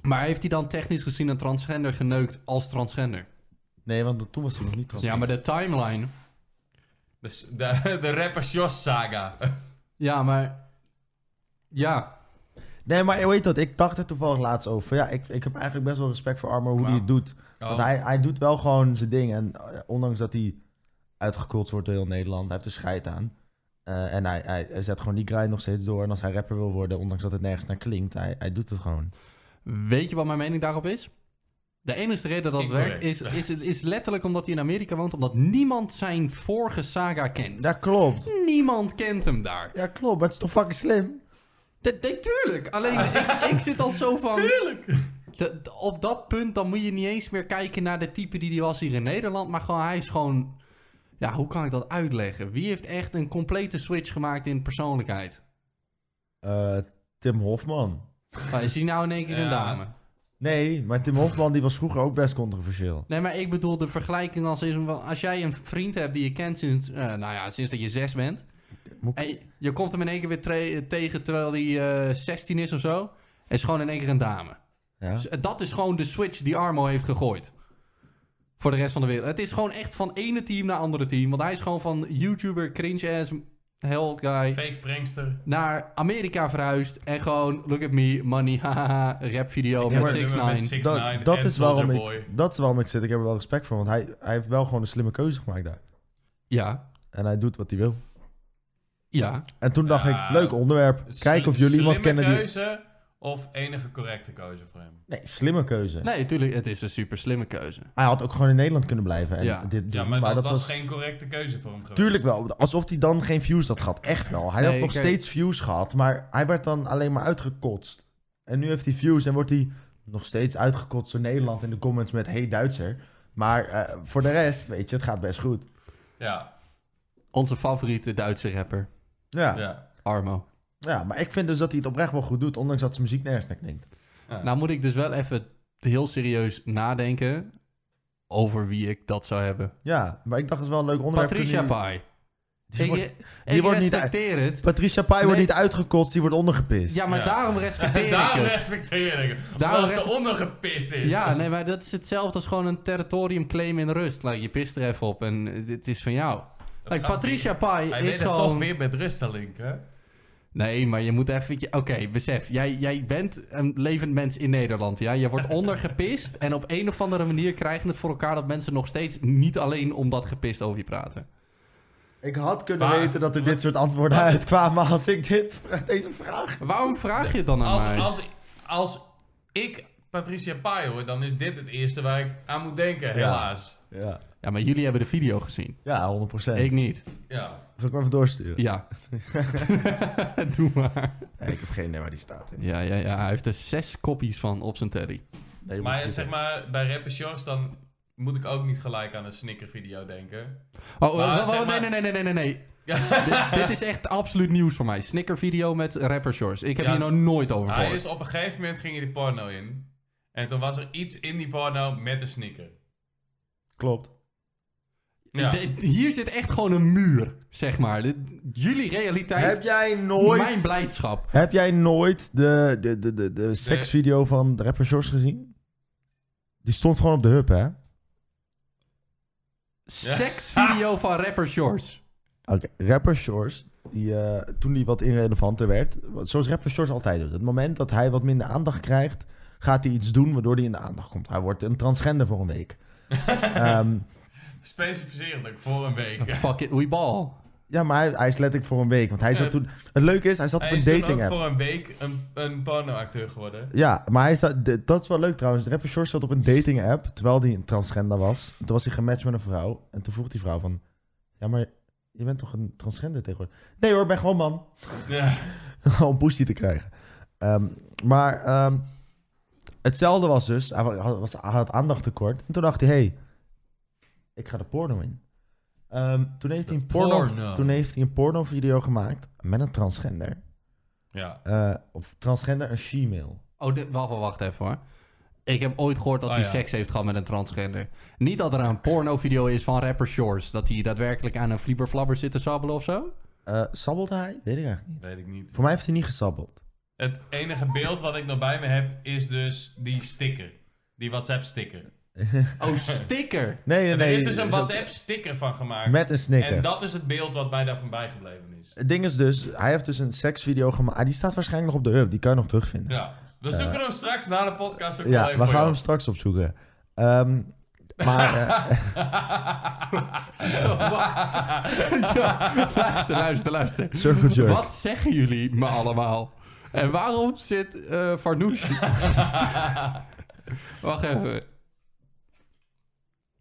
maar heeft hij dan technisch gezien een transgender geneukt als transgender? Nee, want toen was hij nog niet transgender. Ja, maar de timeline. Dus de, *laughs* de rapper Josh saga. Ja, maar. Ja. Nee, maar hoe heet dat? Ik dacht er toevallig laatst over. Ja, ik, ik heb eigenlijk best wel respect voor Armor hoe hij Wauw. het doet. Want Oh. hij, hij doet wel gewoon zijn ding. En eh, ondanks dat hij uitgekotst wordt door heel Nederland, hij heeft er scheid aan. Eh, en hij, hij, hij zet gewoon die grind nog steeds door. En als hij rapper wil worden, ondanks dat het nergens naar klinkt, hij, hij doet het gewoon. Weet je wat mijn mening daarop is? De enige reden dat het werkt is, *laughs* is, is letterlijk omdat hij in Amerika woont, omdat niemand zijn vorige saga kent. Dat klopt. Niemand kent hem daar. Ja, klopt. Maar het is toch fucking slim? Dat dat- tuurlijk. *laughs* Alleen ik, ik zit al zo van. Tuurlijk! De- de- op dat punt dan moet je niet eens meer kijken naar de type die die was hier in Nederland. Maar gewoon, hij is gewoon... Ja, hoe kan ik dat uitleggen? Wie heeft echt een complete switch gemaakt in persoonlijkheid? Eh, Tim Hofman. Ah, Is hij nou in één keer een Ja. dame? Nee, maar Tim Hofman die was vroeger ook best controversieel. Nee, maar ik bedoel de vergelijking als, is een- als jij een vriend hebt die je kent sinds, eh, nou ja, sinds dat je zes bent. Moet En je, je komt hem in één keer weer tre- tegen terwijl hij eh, 16 is of zo. En is gewoon in één keer een dame. Ja. Dus, eh, dat is gewoon de switch die Armo heeft gegooid. Voor de rest van de wereld. Het is gewoon echt van ene team naar andere team. Want hij is gewoon van YouTuber, cringe-ass, hell guy... Fake prankster. naar Amerika verhuisd. En gewoon, look at me, money, *laughs* haha, rap video Ja, met maar- 6 Met 9 6ix9ine Dat, dat, en is waarom Soulja Boy. ik, dat is waarom ik zit. Ik heb er wel respect voor. Want hij, hij heeft wel gewoon een slimme keuze gemaakt daar. Ja, En hij doet wat hij wil. ja. En toen dacht Ja. ik, leuk onderwerp. Kijk of jullie iemand Slimme kennen die... keuze of enige correcte keuze voor hem? Nee, slimme keuze. Nee, natuurlijk, het is een super slimme keuze. Hij had ook gewoon in Nederland kunnen blijven. En Ja. dit doen, Ja, maar, dat, was, geen correcte keuze voor hem geweest. Tuurlijk wel. Alsof hij dan geen views had gehad. Echt wel. Hij Nee, had nog kijk- steeds views gehad. Maar hij werd dan alleen maar uitgekotst. En nu heeft hij views en wordt hij nog steeds uitgekotst door Nederland in de comments met... Hey Duitser. Maar eh, voor de rest, weet je, het gaat best goed. Ja, Onze favoriete Duitse rapper, Ja. Ja. ja. Armo. maar ik vind dus dat hij het oprecht wel goed doet. Ondanks dat zijn muziek nergens naar klinkt. ja. Nou moet ik dus wel even heel serieus nadenken over wie ik dat zou hebben. Ja, maar ik dacht, het is wel een leuk onderwerp. Patricia Kunnen Pai. Dus jullie- Die Ik, wordt- ik wordt niet respecteer het. Patricia Pai wordt Nee. niet uitgekotst, die wordt ondergepist. Ja, maar Ja. *laughs* daarom respecteer Daarom ik het. respecteer ik hem. Daarom Omdat ze respect- ondergepist is. Ja, nee, maar dat is hetzelfde als gewoon een territorium claim in rust. Like, je pist er even op en eh, dit is van jou. Dat Like, gaat Patricia niet. Pai Hij is deed het toch gewoon... weer met rust, dat link, hè? Nee, maar je moet even... Oké, besef. Jij, jij bent een levend mens in Nederland, ja? Je wordt ondergepist en op een of andere manier krijgen we het voor elkaar... dat mensen nog steeds niet alleen om dat gepist over je praten. Ik had kunnen Maar- weten dat er dit soort antwoorden uitkwamen als ik dit, deze vraag... Waarom vraag je het dan aan Als, mij? als, als ik Patricia Pai hoor, dan is dit het eerste waar ik aan moet denken, helaas. Ja, Ja, maar jullie hebben de video gezien. ja 100%. Ik niet. Ja. Zal ik hem even doorsturen? Ja. Doe maar. Nee, ik heb geen idee waar die staat. in. Ja, ja, ja. Hij heeft er zes kopies van op zijn telly. Nee, moet ik Maar niet zeg doen. maar, bij rapper Shores dan moet ik ook niet gelijk aan een snicker video denken. Oh, eh, Maar wa- wa- zeg nee, maar- nee, nee, nee, nee, nee. *laughs* dit, dit is echt absoluut nieuws voor mij. Snicker video met rapper shorts. Ik heb Ja. Ah, hier nou nooit over Hij gehoord. is op een gegeven moment ging hij de porno in. En toen was er iets in die porno met de snicker. Klopt. Ja. Dit- Hier zit echt gewoon een muur, zeg maar. Dit- jullie Heb realiteit, jij nooit... mijn blijdschap. Heb jij nooit de, de, de, de, de seksvideo van de rapper Shores gezien? Die stond gewoon op de hub, hè? Oké, Seksvideo Ah. van rapper shorts. rapper Shores, die, eh, toen hij wat irrelevanter werd... Zoals rapper Shores altijd doet. Het moment dat hij wat minder aandacht krijgt... gaat hij iets doen waardoor hij in de aandacht komt. Hij wordt een transgender voor een week. Ehm, Specificerend voor een week. Fuck it, we ball. ja, maar hij, hij is letterlijk voor een week. Want hij zat Eh, toen... Het leuke is, hij zat Hij op een is toen dating ook app. voor een week een, een pornoacteur geworden. Ja, maar hij zat, d- dat is wel leuk trouwens. De rapper Short zat op een dating app, terwijl hij een transgender was. Toen was hij gematcht met een vrouw. En toen vroeg die vrouw van... Ja, maar je bent toch een transgender tegenwoordig? Nee hoor, ik ben gewoon man. *laughs* Ja. Om pussy te krijgen. Ehm, maar ehm, hetzelfde was dus... Hij wa- had, was, hij had aandacht tekort. En toen dacht hij, hey, ik ga de porno in. Ehm, toen, heeft hij een porno, porno. toen heeft hij een porno-video gemaakt met een transgender. ja. Eh, of transgender, een she-male. Oh, dit, wacht, wacht, wacht even hoor. Ik heb ooit gehoord dat Oh, hij ja. seks heeft gehad met een transgender. Niet dat er een pornovideo is van rapper Shores. Dat hij daadwerkelijk aan een flieberflabber zit te sabbelen of zo. Eh sabbelde hij? Weet ik eigenlijk niet. Weet ik niet. Voor mij heeft hij niet gesabbeld. Het enige beeld wat ik nog bij me heb is dus die sticker. Die WhatsApp-sticker. *laughs* Oh, sticker! Nee, nee, En nee. er is dus een zo- WhatsApp-sticker van gemaakt. Met een En snikker. dat is het beeld wat mij daarvan bijgebleven is. Het ding is dus, hij heeft dus een seksvideo gemaakt. Ah, die staat waarschijnlijk nog op de hub. Die kan je nog terugvinden. Ja. We zoeken hem straks na de podcast ook Ja, wel we even gaan voor jou. hem straks opzoeken. Ehm, maar eh, Ja, luister, luister, luister. Circle Jerk. Wat zeggen jullie me allemaal? En waarom zit eh *laughs* Farnoosh? Wacht even.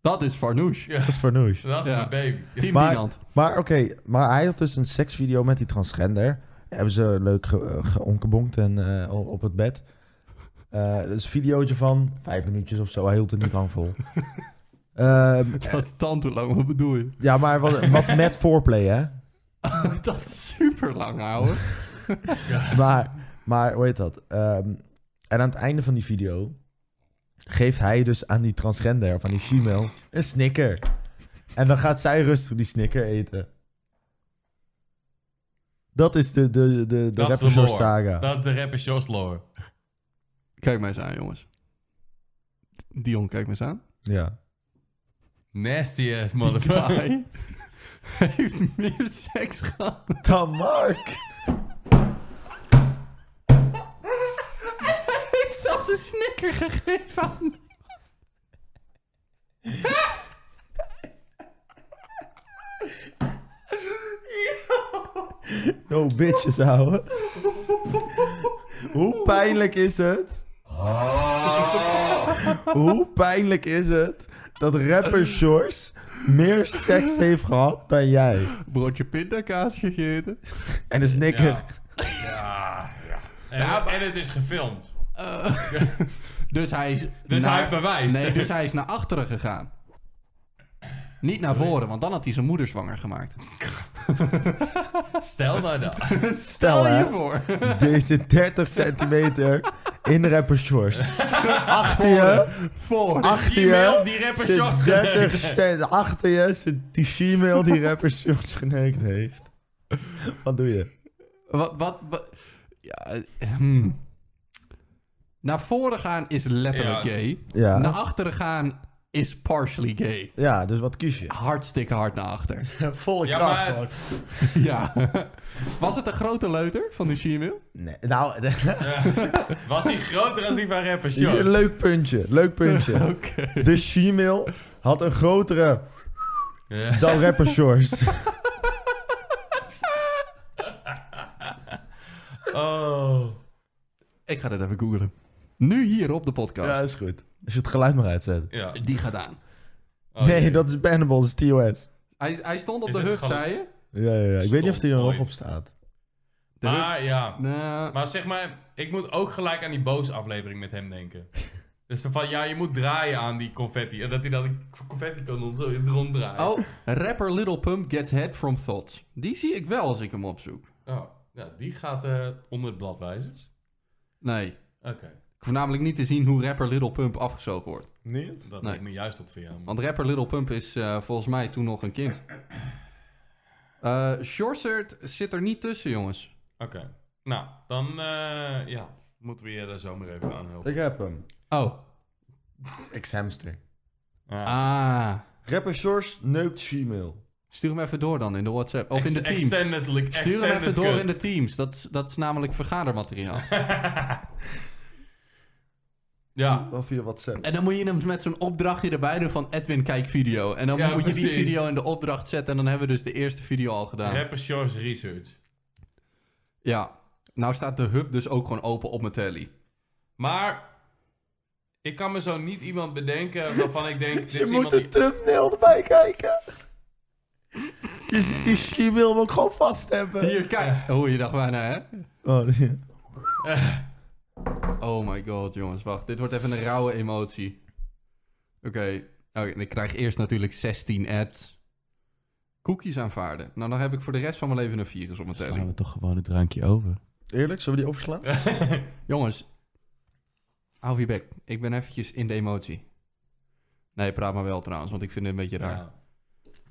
Dat is Farnoosh. dat is voor Noosh. *laughs* Dat is Ja. mijn baby. Team Maar- Binant. Maar oké, maar hij had dus een seksvideo met die transgender. Hebben ze leuk ge- eh, geonkebonkt en eh, o- op het bed. Eh dus een videootje van vijf minuutjes of zo. Hij hield het niet lang *laughs* vol. Ehm, Dat is dan te lang, wat bedoel je? *laughs* ja, maar wat, wat *laughs* met foreplay, hè? Dat is super lang, ouwe. Maar, maar hoe heet dat? Ehm, en aan het einde van die video geeft hij dus aan die transgender, of aan die female, een snicker. En dan gaat zij rustig die snicker eten. Dat is de, de, de, de Dat is Rapper Shores lore. saga. Dat is de rapper Jos lore. Kijk mij eens aan, jongens. Dion, kijk mij *laughs* eens aan. Ja. Nasty ass Die motherfucker. guy heeft meer seks gehad. *laughs* Dan Mark! Hij heeft zelfs een snicker gegeven aan. Yo, bitches, ouwe. Hoe pijnlijk is het? Hoe pijnlijk is het dat rapper Shores meer seks heeft gehad dan jij? Broodje pindakaas gegeten. En dus een snicker. Ja. Ja, ja. En, en het is gefilmd. Dus hij is. Dus hij heeft bewijs. Nee, dus hij is naar achteren gegaan. Niet naar voren, want dan had hij zijn moeder zwanger gemaakt. *laughs* Stel nou dat. Stel Stel je hè, voor. *laughs* deze 30 centimeter in rapper shorts. Achter je, voor. achter Gmail je, die rapper Jos zit 30 cent, achter je zit die Gmail die rapper shorts geneukt heeft. Wat doe je? Wat, wat, wat- ja, eh, hmm. Naar voren gaan is letterlijk Ja. gay. Ja. Naar achteren gaan is partially gay. Ja, dus wat kies je? Hartstikke hard naar *laughs* achter. *laughs* Volle Ja, kracht maar- gewoon. ja. Was het een grote leuter van de Shimil? Nee, nou, *laughs* Eh, *laughs* was die groter dan die van rappers, joh. leuk puntje. Leuk *laughs* puntje. Oké. De Gmail had een grotere Ja. *laughs* dan rapper Shores. Oh. Ik ga dit even googlen. Nu hier op de podcast. Ja, is goed. Als je het geluid maar uitzet. Ja. Die gaat aan. Oh, nee, dat is Bannable, dat is TOS. Hij, hij stond op Is de het hug, gewoon- zei je? Ja, ja, ja. Ik weet niet of die er nog Ooit. op staat. De hug? Maar ja. Nou, Maar zeg maar, ik moet ook gelijk aan die boos aflevering met hem *laughs* denken. Dus dan van, ja, je moet draaien aan die confetti. En dat hij dan confetti kan om zo in het rond draaien. Oh, *laughs* rapper Little Pump gets head from thoughts. Die zie ik wel als ik hem opzoek. Oh, ja, die gaat eh, onder het bladwijzers. Nee. Ik Oké. hoef namelijk niet te zien hoe rapper Little Pump afgezogen wordt. Niet? Dat Nee. lijkt me juist tot via. Want rapper Little Pump is eh, volgens mij toen nog een kind. Eh Shorsert zit er niet tussen, jongens. Oké. Nou, dan eh, ja, moeten we je daar zomaar even aan helpen. Ik heb hem. Oh. Ex-hamster. Ja. Ah. Rapper Shores neukt Gmail. Stuur hem even door dan in de WhatsApp. Of in de Ex- Teams. Extended, li- Stuur hem extended even door cut. in de Teams. Dat is, dat is namelijk vergadermateriaal. *laughs* ja. Wel via WhatsApp. *laughs* En dan moet je hem met zo'n opdrachtje erbij doen van Edwin kijk video. En dan Ja, moet je die precies. video in de opdracht zetten. En dan hebben we dus de eerste video al gedaan. Rapper Shores Research. Ja. Nou staat de hub dus ook gewoon open op mijn telly. Maar ik kan me zo niet iemand bedenken waarvan *laughs* ik denk... dit Je is moet iemand de die... thumbnail erbij kijken. Je ziet die Gmail hem ook gewoon vast hebben. Hier, Eh. kijk. Oh, je dacht bijna, hè? Oh, ja. Oh my god, jongens. Wacht, dit wordt even een rauwe emotie. Oké. Oké, en ik krijg eerst natuurlijk 16 ads. Cookies aanvaarden. Nou, dan heb ik voor de rest van mijn leven een virus op mijn telly. toch gewoon het drankje over. Eerlijk, zullen we die overslaan? Jongens. Hou je bek. Ik ben eventjes in de emotie. Nee, praat maar wel trouwens, want ik vind het een beetje raar. *laughs*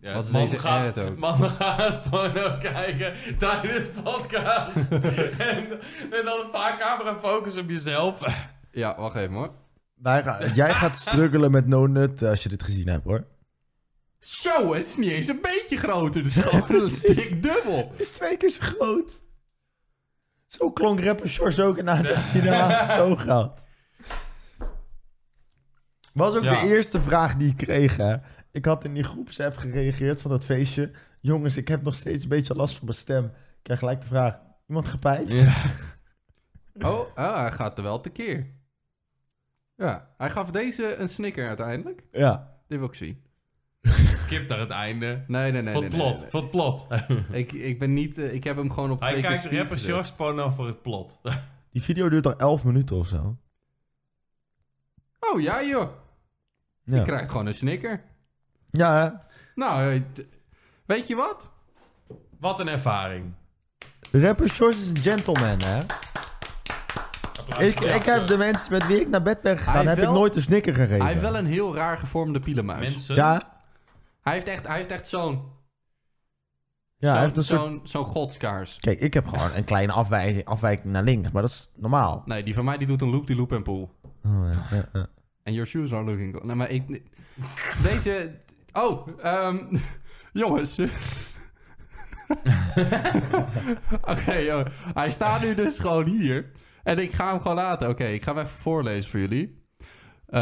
Ja. Ja, Wat is man deze gaat, ad ook? Man gaat porno kijken tijdens *laughs* podcast. en, en dan een paar camera focus op jezelf. *laughs* Ja, wacht even hoor. Wij gaan- jij gaat struggelen met no nut eh, als je dit gezien hebt hoor. Zo, het is niet eens een beetje groter. Dus *laughs* gewoon een precies. stik dubbel. is twee keer zo groot. Zo klonk rapper Shores ook nadat hij daarna zo gaat. Was ook Ja. de eerste vraag die ik kreeg. Hè. Ik had in die groepsapp gereageerd van dat feestje. Jongens, ik heb nog steeds een beetje last van mijn stem. Ik krijg gelijk de vraag. Iemand gepijpt? Oh, ah, hij gaat er wel tekeer. Ja, hij gaf deze een snicker uiteindelijk. Ja. Dit wil ik zien. Skip naar het einde. Nee, nee, nee. voor nee, het nee, plot, nee, voor het plot. nee. Ik, ik ben niet... eh, ik heb hem gewoon op Hij twee keer kijkt speed rapper gezet. Shores porno voor het plot. *laughs* Die video duurt al 11 minuten of zo. Oh, ja joh. Je Ja, krijgt gewoon een snicker. ja hè. Nou, eh, d- weet je wat? Wat een ervaring. rapper Shores is een gentleman hè. Ik, ik heb de mensen met wie ik naar bed ben Hij gegaan, heb heeft ik wel- nooit een snicker gegeven. Hij heeft wel een heel raar gevormde pielenmuis. Mensen, Ja, Hij heeft echt, hij heeft echt zo'n... ja hij zo'n- heeft een soort... Zo'n zo'n godskaars. Kijk, ik heb gewoon een kleine afwijzing, afwijking naar links, maar dat is normaal. Nee, die van mij die doet een loop-die-loop en pool. Oh, ja, ja, ja. En your shoes are looking good. Nee, maar ik... Deze... Oh, ehm, *laughs* jongens. *laughs* Oké, joh. hij staat nu dus gewoon hier. En ik ga hem gewoon laten. Oké, ik ga hem even voorlezen voor jullie. Eh,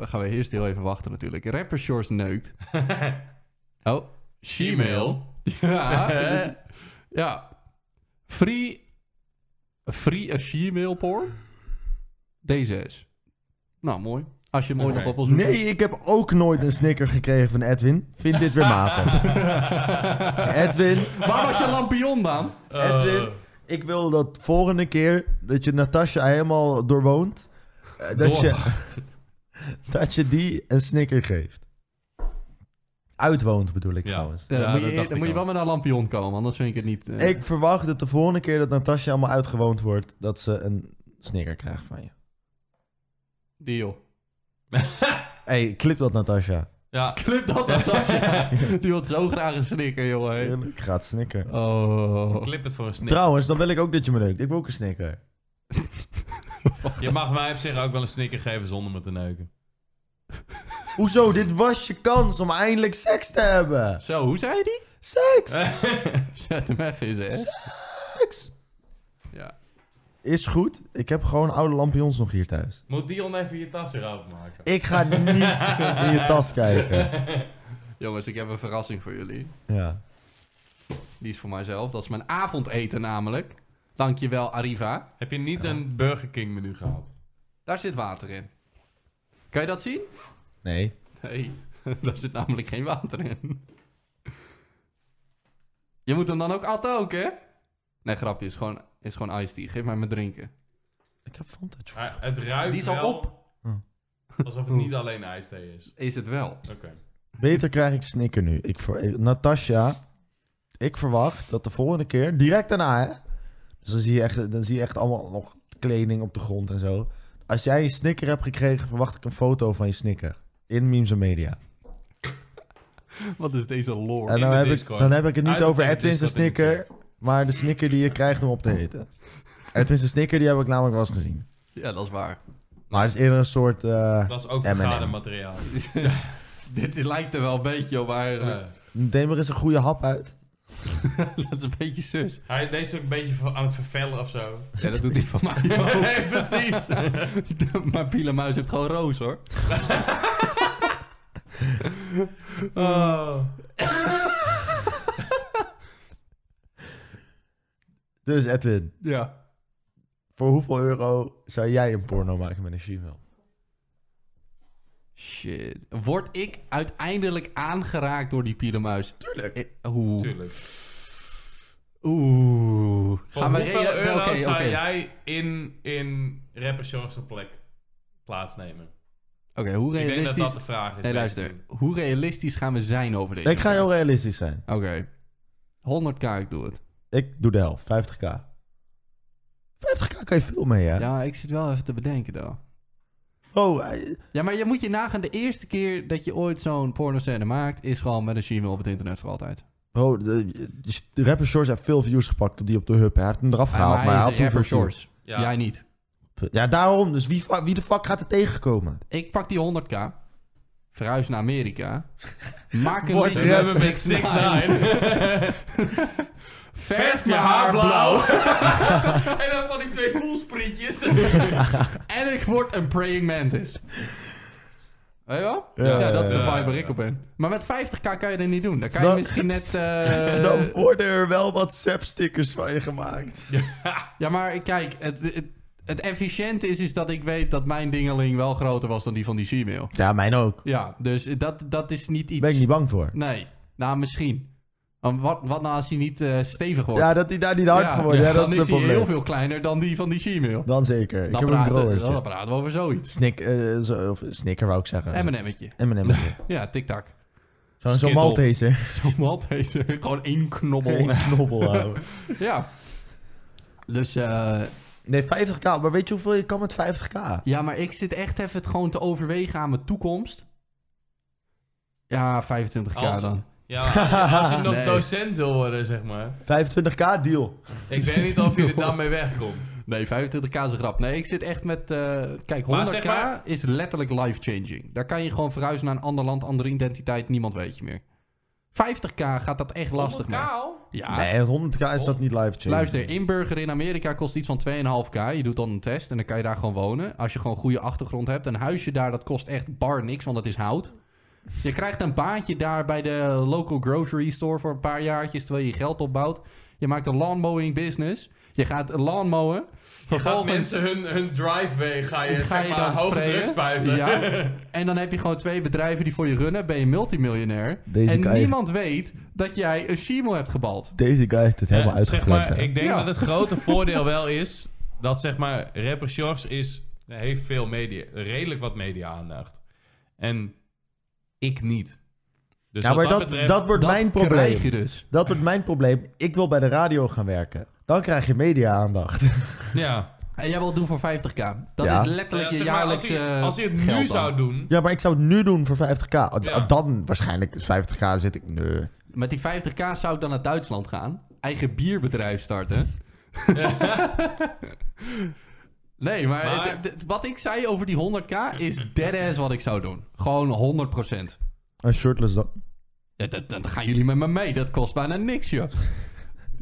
we gaan we eerst heel even wachten natuurlijk. Rapper Shores neukt. Oh, Gmail. *laughs* Ja. dit- ja. Free... Free a Gmail porn? Deze is. Nou, mooi. Als je hem ooit Oké. nog op wil zoeken. Nee, ik heb ook nooit een snicker gekregen van Edwin. Vind dit weer *laughs* matig. Edwin, Waar was je lampion dan? Edwin, ik wil dat volgende keer dat je Natasja helemaal doorwoont, eh, dat, je, dat je die een snicker geeft. Uitwoont bedoel ik Ja. trouwens. Ja, Ja, dan Eh, moet dat je, dacht dan ik moet je al. wel met een lampion komen, anders vind ik het niet... eh. Ik verwacht dat de volgende keer dat Natasja allemaal uitgewoond wordt, dat ze een snicker krijgt van je. Deal. *laughs* hey, clip dat Natasja. ja, Clip dat Natasja. Die wil zo graag een snikker, jongen. Ik ga het snicker. *laughs* Oh. clip het voor een snikker. Trouwens, dan wil ik ook dat je me neukt. Ik wil ook een snicker. Je mag mij op zich ook wel een snikker geven zonder me te neuken. Hoezo? Dit was je kans om eindelijk seks te hebben. Zo, hoe zei die? Seks! *laughs* Zet hem even in zijn ass. Seks! Ja. Is goed. Ik heb gewoon oude lampions nog hier thuis. Moet Dion even je tas weer openmaken? Ik ga niet in je tas kijken. Jongens, ik heb een verrassing voor jullie. Ja. Die is voor mijzelf. Dat is mijn avondeten namelijk. Dankjewel, Arriva. Heb je niet een Burger King menu gehaald? Daar zit water in. Kan je dat zien? Nee. Nee, *laughs* daar zit namelijk geen water in. Je moet hem dan ook atten ook, hè? Nee, grapje. Is gewoon, is gewoon iced tea. Geef mij mijn drinken. Ik heb Fanta. Hij- Het ruikt Die is al wel op. Oh. *laughs* Alsof het niet alleen ijsthee is. Is het wel. Oké. Beter krijg ik snikker nu. Ik ver- eh, Natasja, ik verwacht dat de volgende keer, direct daarna hè. Dus dan zie, je echt, dan zie je echt allemaal nog kleding op de grond en zo. Als jij een snikker hebt gekregen, verwacht ik een foto van je snikker. In memes en media. Wat is deze lore? En in dan de heb, ik, Discord. dan heb ik het niet Uit de over Discord Edwin zijn in de snikker, maar de snikker die je krijgt om op te eten. Edwin zijn snikker, die heb ik namelijk wel eens gezien. Ja, dat is *laughs* waar. Maar het is eerder een soort... eh, Dat is ook M&M. vergadermateriaal. Dit lijkt er wel een beetje op eigenlijk. Eh, neem er eens een goede hap uit. dat is een beetje sus. hij, deze is ook een beetje van- aan het vervellen of zo. Ja, dat doet hij van *laughs* mij ook. nee, precies. *laughs* maar Pielenmuis heeft gewoon roos, hoor. Oh. Dus Edwin, Ja. voor hoeveel euro zou jij een porno maken met een Gmail? Shit. Word ik uiteindelijk aangeraakt door die Pielenmuis? Tuurlijk. Eh, Oeh. Tuurlijk. Oeh. Voor Gaan we hoeveel re- euro Oké, zou oké. jij in, in rapper George een plek plaatsnemen? Oké, hoe Ik denk dat realistisch... dat de vraag is. Nee, luister. Hoe realistisch gaan we zijn over deze? Ik ga heel realistisch zijn. Oké. 100k, ik doe het. Ik doe de helft, 50k. 50k kan je veel mee, hè? Ja, ik zit wel even te bedenken, dan. Oh, eh, Ja, maar je moet je nagaan. De eerste keer dat je ooit zo'n pornoscène maakt... is gewoon met een Gmail op het internet voor altijd. oh de, de- de rapper Shores heeft veel views gepakt op die op de hub. Hij heeft hem eraf gehaald, maar, hij had is toen rapper veel views. Shores. Ja. Jij niet. Ja, daarom. Dus wie, fa- wie de fuck gaat er tegenkomen? Ik pak die 100k. Verhuis naar *laughs* Amerika. Maak een Word liedje rapper met met 6ix9ine. Verf je haar blauw. *laughs* en dan van die twee voelsprietjes. En ik word een praying mantis. Weet je wel? Ja, Ja, ja, dat is de ja. vibe waar ik op ben. Maar met 50k kan je dat niet doen. Dan kan Dan- je misschien net... *laughs* eh, Dan worden er wel wat stickers van je gemaakt. Ja, maar kijk, het, het, het efficiënte is, is dat ik weet dat mijn dingeling wel groter was dan die van die Gmail. Ja, mijn ook. Ja, dus dat, dat is niet iets... Daar ben ik niet bang voor. Nee, nou misschien. Want wat, wat nou als hij niet eh, stevig wordt? Ja, dat hij daar niet hard Ja, voor wordt. Ja, dat dan is een is hij heel probleem. veel kleiner dan die van die Gmail. Dan zeker. Ik Dan heb een praten, dan broertje. praten we over zoiets. Snik, eh, zo, of snicker wou ik zeggen. M&M'tje. *laughs* M&M. Ja, tic-tac. Zo'n zo Skittle. Maltese. *laughs* Zo'n Maltese, eh, gewoon één knobbel. *laughs* Een knobbel houden. ja. Dus, eh, Nee, 50k. Maar weet je hoeveel je kan met 50k? ja, maar ik zit echt even het gewoon te overwegen aan mijn toekomst. Ja, 25k Als- dan. Ja, als je, als je nog Nee. docent wil worden, zeg maar. 25k deal. Ik weet niet of je er dan mee wegkomt. Nee, 25k is een grap. Nee, ik zit echt met... eh, kijk, 100k Maar zeg maar- is letterlijk life-changing. Daar kan je gewoon verhuizen naar een ander land, andere identiteit. Niemand weet je meer. 50k gaat dat echt *laughs* lastig maken. Kaal? Ja, Nee, 100k is dat niet live change. Luister, inburger in Amerika kost iets van 2,5k. Je doet dan een test en dan kan je daar gewoon wonen. Als je gewoon goede achtergrond hebt. Een huisje daar, dat kost echt bar niks, want dat is hout. Je krijgt een baantje daar bij de local grocery store voor een paar jaartjes, terwijl je geld opbouwt. Je maakt een lawnmowing business. Je gaat lawnmowen. Je gaat Vervolgens mensen hun, hun driveway ga je, ga zeg je maar, dan hoge sprayen. drugs spuiten. *laughs* Ja. En dan heb je gewoon twee bedrijven die voor je runnen. Ben je multimiljonair. Deze en kan je- niemand weet dat jij een shimo hebt gebald. Deze guy heeft het helemaal Ja, uitgepland. Zeg maar, hè. ik denk Ja. dat het grote voordeel wel is dat zeg maar rapper Shores is heeft veel media, redelijk wat media aandacht. En ik niet. Dus ja, wat maar dat, dat, betreft, wordt Dat mijn krijg probleem. je dus. Dat wordt mijn probleem. Ik wil bij de radio gaan werken. Dan krijg je media-aandacht. *laughs* ja. En jij wil het doen voor 50k. Dat Ja. is letterlijk Ja, je zeg maar, jaarlijkse als hij, als hij het nu geld dan. zou doen, Ja, maar ik zou het nu doen voor 50k. Ah, d- Ja. Dan waarschijnlijk is 50k zit ik... Nee. Met die 50k zou ik dan naar *laughs* Duitsland gaan. Eigen bierbedrijf starten. Nee, maar, Maar- het- het- wat ik zei over die 100k *laughs* is deadass wat ik zou doen. Gewoon 100%. Een shirtless dan. Ja, dat, dat gaan jullie met me mee. Dat kost bijna niks, joh.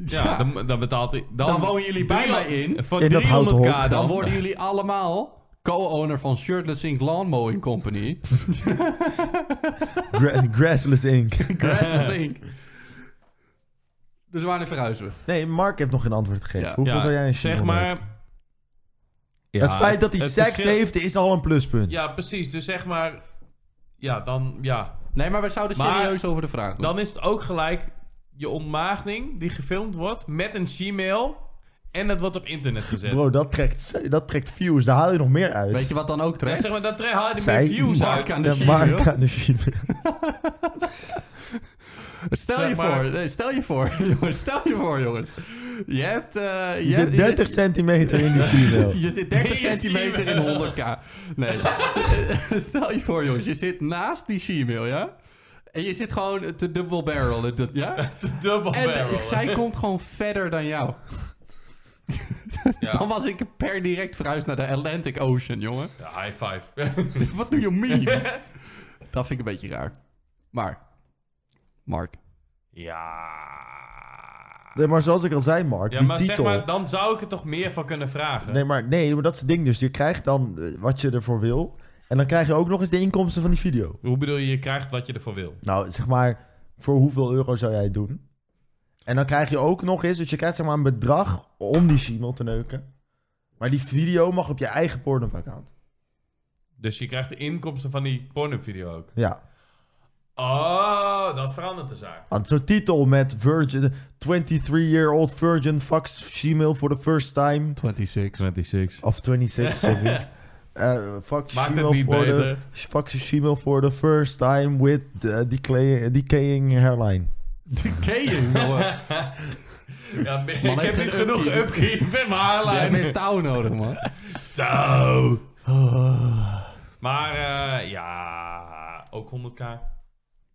Ja, Ja. Dan, dan betaalt hij... Dan, Dan wonen jullie bij mij in. Voor In dat 300k houten hok. dan. Dan worden jullie allemaal co-owner van Shirtless Inc. Lawn Mowing *laughs* Company. Gra- *laughs* grassless Inc. Grassless Inc. Dus wanneer verhuizen we? Nee, Mark heeft nog geen antwoord gegeven. Ja. Hoeveel Ja, zou jij een Zeg single maar... hebben? het feit dat hij het seks verschil- heeft is al een pluspunt. Ja, precies. Dus zeg maar... Ja, dan... Ja. Nee, maar we zouden Maar- serieus over de vraag doen. Dan is het ook gelijk je ontmaagding die gefilmd wordt met een Gmail en dat wordt op *laughs* internet gezet. Bro, dat trekt, dat trekt views. Daar haal je nog meer uit. Weet je wat dan ook ja, terecht? zeg maar, dat tre- haal je er Zij- meer views Mark uit. aan de Ja, Gmail. Mark aan de Gmail. Stel Zeg je maar- voor, nee, stel je voor, *laughs* jongens, stel je voor, jongens. Je hebt... eh, Je zit hebt- 30 centimeter in die Gmail. Je zit 30 Nee, *laughs* je centimeter in 100k. Nee. *laughs* Stel je voor, jongens, je zit naast die Gmail, ja? En je zit gewoon te double barrel, het- het- ja? De *laughs* dubbel En barrel. zij komt gewoon verder dan jou. Ja. Dan was ik per direct verhuisd naar de Atlantic Ocean, jongen. *laughs* Ja, high five. *laughs* Wat doe je mean? Dat vind ik een beetje raar. Maar, Mark. ja. Nee, maar zoals ik al zei, Mark, Ja, die maar titel... zeg maar, dan zou ik er toch meer van kunnen vragen. Nee, maar, nee, maar dat is het ding dus. Je krijgt dan eh, wat je ervoor wil. En dan krijg je ook nog eens de inkomsten van die video. Hoe bedoel je, je krijgt wat je ervoor wil? Nou, zeg maar, voor hoeveel euro zou jij het doen? En dan krijg je ook nog eens... Dus je krijgt zeg maar een bedrag om die Gmail te neuken. Maar die video mag op je eigen Pornhub-account. Dus je krijgt de inkomsten van die pornhub-video ook. Ja. Oh, dat verandert de zaak. Want zo'n titel met virgin... 23-year-old virgin fucks Gmail for the first time. 26. 26. Of *laughs* 26, sorry. Eh fuck Maakt Gmail het niet for the- beter. Fuck Shishimo for the first time with the decay- decaying hairline. Decaying, *laughs* jongen. Ja, ik heb Man heeft niet een genoeg upkeep. upkeep in mijn Jij hebt haarlijn. meer touw nodig, man. Zo. Maar eh, ja, ook 100k.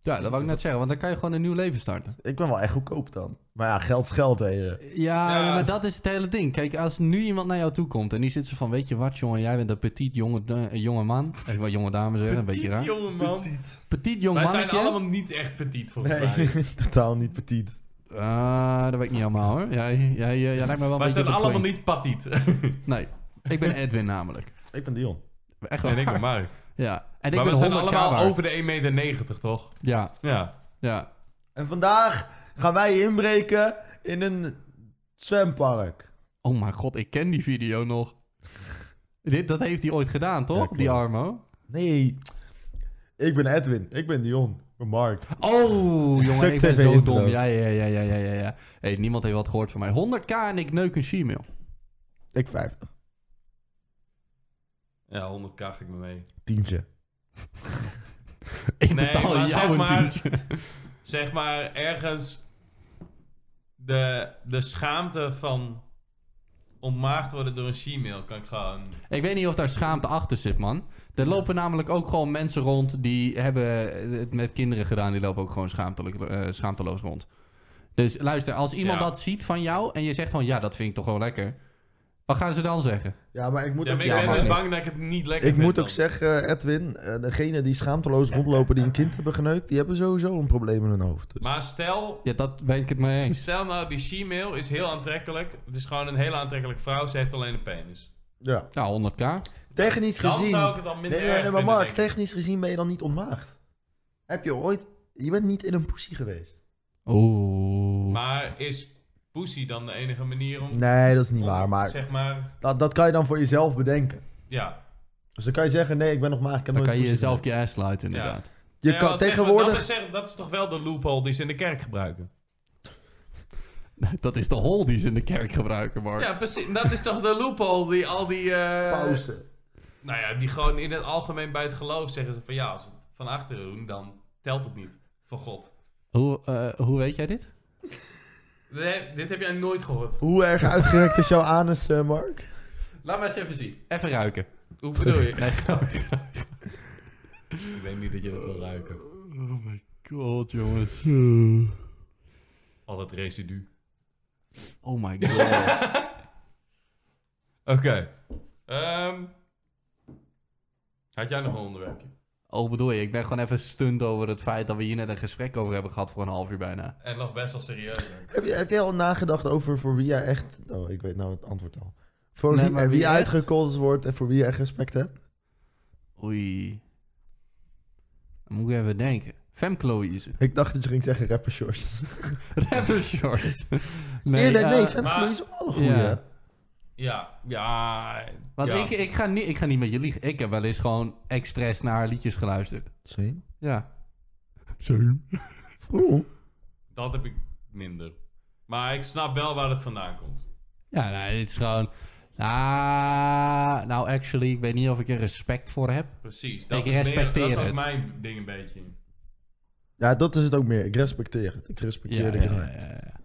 Ja, dat wou *laughs* ik net zeggen, want dan kan je gewoon een nieuw leven starten. Ik ben wel echt goedkoop dan. Maar ja, geld is geld, heren. Ja, Ja. maar dat is het hele ding. Kijk, als nu iemand naar jou toe komt en die zit zo van... Weet je wat, jongen, jij bent een petit jonge, eh, jonge man. Ik wil jonge dame zeggen, een beetje raar. jonge man. Petit jong Wij mannetje. zijn allemaal niet echt petit volgens *laughs* mij. Nee, *laughs* totaal niet petit. Ah, dat weet ik niet allemaal, hoor. Jij, jij, jij, jij lijkt me wel een Wij beetje zijn op de allemaal twink. niet *laughs* patit. Nee, *laughs* ik ben Edwin namelijk. Ik ben Dion. Echt wel En ik ben waar. Mark. Ja, en ik maar ben we zijn 100k allemaal waard. over de 1,90 meter, toch? Ja, Ja. ja. En vandaag gaan wij inbreken in een zwempark. Oh mijn god, ik ken die video nog. Dit, dat heeft hij ooit gedaan, toch? klopt. die Armo. Nee, ik ben Edwin. Ik ben Dion. Ik ben Mark. Oh, jongen, Stuk ik ben TV zo intro. dom. Ja, ja, ja, ja, ja, ja. ja. Hey, niemand heeft wat gehoord van mij. 100k en ik neuk een Gmail. *laughs* Ik 50. Ja, 100k ga ik me mee. Tientje. Nee, Ik betaal maar zeg jou een maar- tientje. Zeg maar ergens de, de schaamte van ontmaagd worden door een she-mail kan ik gewoon... *laughs* Ik weet niet of daar schaamte achter zit, man. Er lopen namelijk ook gewoon mensen rond die hebben het met kinderen gedaan. Die lopen ook gewoon schaamtelijk, eh, schaamteloos rond. Dus luister, als iemand Ja. dat ziet van jou en je zegt van ja, dat vind ik toch wel lekker. Wat gaan ze dan zeggen? Ja, maar ik moet Ja, ook maar ik ben dus maar zeggen... niet. bang dat ik het niet lekker Ik vind moet ook dan. zeggen, Edwin, eh, degene die schaamteloos rondlopen die een kind hebben geneukt, die hebben sowieso een probleem in hun hoofd. Dus. Maar stel, Ja, dat ben ik het mee eens. stel nou, die she-mail is heel aantrekkelijk. Het is gewoon een hele aantrekkelijke vrouw. Ze heeft alleen een penis. Ja. Nou, 100k. Technisch Dan gezien... zou ik het al minder Nee, nee, erg nee, maar vinden, Mark, denk ik. technisch gezien ben je dan niet ontmaagd. Heb je ooit... Je bent niet in een pussy geweest. Oeh. Maar is pussy dan de enige manier om... Nee, dat is niet om, waar. Maar Zeg maar, dat, dat kan je dan voor jezelf bedenken. ja. Dus dan kan je zeggen, nee, ik ben nog maagd. Ik heb Dan nooit kan je pussy jezelf je ass sluiten, Ja. inderdaad. gedaan. Je Ja, kan want zeg maar, tegenwoordig... Dat is, zeg- dat is toch wel de loophole die ze in de kerk gebruiken? *laughs* Dat is de hol die ze in de kerk gebruiken, Mark. Ja, precies. Dat is toch de loophole die al die... eh, Pauze. Nou ja, die gewoon in het algemeen bij het geloof zeggen ze van... Ja, als we het van achteren doen, dan telt het niet. Van God. Hoe, eh, hoe weet jij dit? Nee, dit heb jij nooit gehoord. Hoe erg uitgerekt is jouw *laughs* anus, eh, Mark? Laat maar eens even zien. Even ruiken. Oh, Hoe bedoel je? *laughs* Nee, grapje. *laughs* Ik weet niet dat je dat wil ruiken. Oh my god, jongens. Al dat residu. Oh my god. Oké. Ehm, had jij nog een onderwerpje? Oh, bedoel je? Ik ben gewoon even stunt over het feit dat we hier net een gesprek over hebben gehad voor een half uur bijna. En nog best wel serieus. ook. Heb, je, heb jij al nagedacht over voor wie jij echt... Oh, ik weet nou het antwoord al. Voor Nee, wie, maar wie, wie wie echt- uitgekozen wordt en voor wie je echt respect hebt? Oei. Dan moet ik even denken. Femke *laughs* Louise. Ik dacht dat je ging zeggen rapper shorts. Rapper Shorts. Nee, nee, eh, nee Femke maar- Louise is ook wel een goeie. Ja. Ja, ja. Want ja. ik, ik, ga niet, ik ga niet met je liegen. Ik heb wel eens gewoon expres naar haar liedjes geluisterd. Same. Ja. Zo. Vroeg. Dat heb ik minder. Maar ik snap wel waar het vandaan komt. Ja, nou, dit is gewoon... Ah, nou, actually, ik weet niet of ik er respect voor heb. Precies. Dat Ik is meer- respecteer Dat is ook het. mijn ding een beetje. Ja, dat is het ook meer. Ik respecteer het. Ik respecteer de ja, graag. ja, ja.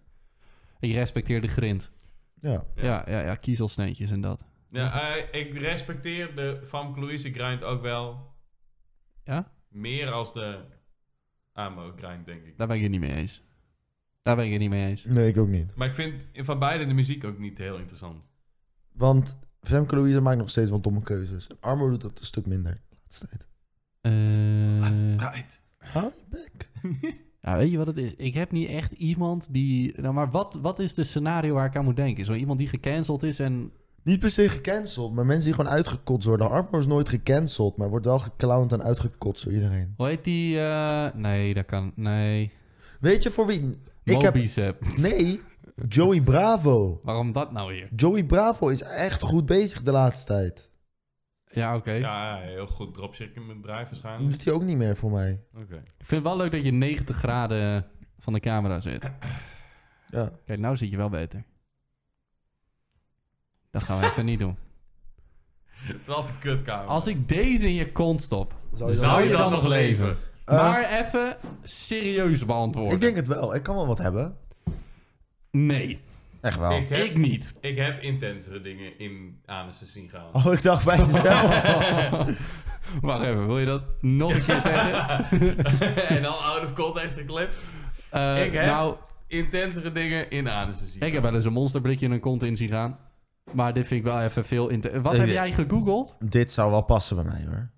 Ik respecteer de grind. Ja. Ja. Ja, ja, ja, kiezelsneetjes en dat. Ja, eh, ik respecteer de Famke Louise grind ook wel Ja? meer als de Amo grind, denk ik. Daar ben ik het niet mee eens. Daar ben ik het niet mee eens. Nee, ik ook niet. Maar ik vind van beide de muziek ook niet heel interessant. Want Femke Louise maakt nog steeds wel domme keuzes. En Armo doet dat een stuk minder de laatste tijd. Eh, Right. Hou je bek. Ja, weet je wat het is? Ik heb niet echt iemand die... Nou, maar wat, wat is de scenario waar ik aan moet denken? Zo iemand die gecanceld is en... Niet per se gecanceld, maar mensen die gewoon uitgekotst worden. Armo is nooit gecanceld, maar wordt wel geclowned en uitgekotst door iedereen. Hoe heet die? eh, Nee, dat kan... Nee. Weet je voor wie? Ik Ik heb... Nee, Joey Bravo. Waarom dat nou weer? Joey Bravo is echt goed bezig de laatste tijd. Ja, oké. Ja, heel goed dropshipping Dat bedrijf *laughs* waarschijnlijk. doet hij ook niet meer voor mij. Oké. Ik vind het wel leuk dat je 90 graden van de camera zit. Ja. Kijk, nou zit je wel beter. Dat gaan we even niet *laughs* doen. Wat een kutkamer. Als ik deze in je kont stop, Zou je Zou je dan dan nog nog leven? Eh, maar even serieus beantwoorden. Ik denk het wel. Ik kan wel wat hebben. Nee, Echt wel. Ik heb, Nou, ik *laughs* niet. ik heb intensere dingen in anussen zien gaan. Oh, ik dacht bij mezelf. Wacht even, wil je dat nog een keer *laughs* zeggen? *laughs* en dan out of context geklept. Eh, Ik heb- Nou, Intensere dingen in anussen zien. ik heb wel eens een monsterblikje in een kont in zien gaan. Maar dit vind ik wel even veel... inter- Wat Eh, Ik- heb jij gegoogeld? Dit zou wel passen bij mij hoor.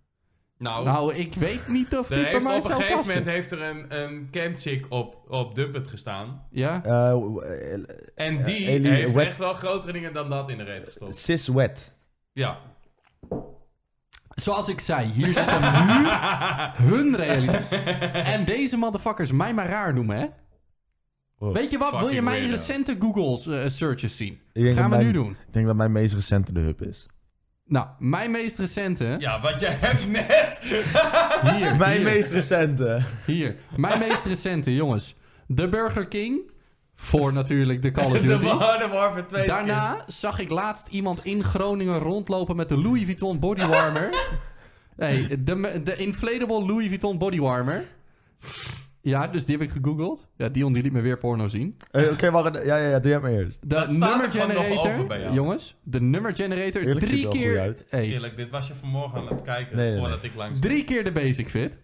Nou, Nou, ik weet niet of er dit bij heeft mij op een zou gegeven passen. moment heeft er een, een campchick op, op Dumpet gestaan. Ja? Eh, w- eh, En die Eli- heeft Wet- echt wel grotere dingen dan dat in de reet gestopt. sis wet. Ja. Zoals ik zei, hier zit dan nu hun realiteit. En deze motherfuckers mij maar raar noemen, hè? Wow. Weet je wat? Wil je Fucking mijn weirdo. recente Google eh, searches zien? Ik denk Gaan dat we nu mijn- doen. Ik denk dat mijn meest recente de hub is. Nou, mijn meest recente. Ja, want jij *laughs* hebt net... Hier, *laughs* Mijn hier, meest recente. hier. Mijn meest recente, jongens. De Burger King. Voor natuurlijk de Call of *laughs* De Duty. Modern Warfare 2 Daarna zag ik laatst iemand in Groningen rondlopen met de Louis *laughs* Vuitton bodywarmer. Nee, de, de inflatable Louis Vuitton bodywarmer. Ja, dus die heb ik gegoogeld. Ja, Dion die liet me weer porno zien. Eh, Oké, wacht. Ja, ja, ja, doe jij maar eerst. De Dat staat nummer er gewoon nog open bij generator, jou. jongens, de nummer generator Eerlijk ziet drie er wel goed keer, uit. hey, Eerlijk, dit was je vanmorgen aan het kijken Nee, nee, voordat ik langs... drie keer de basic fit.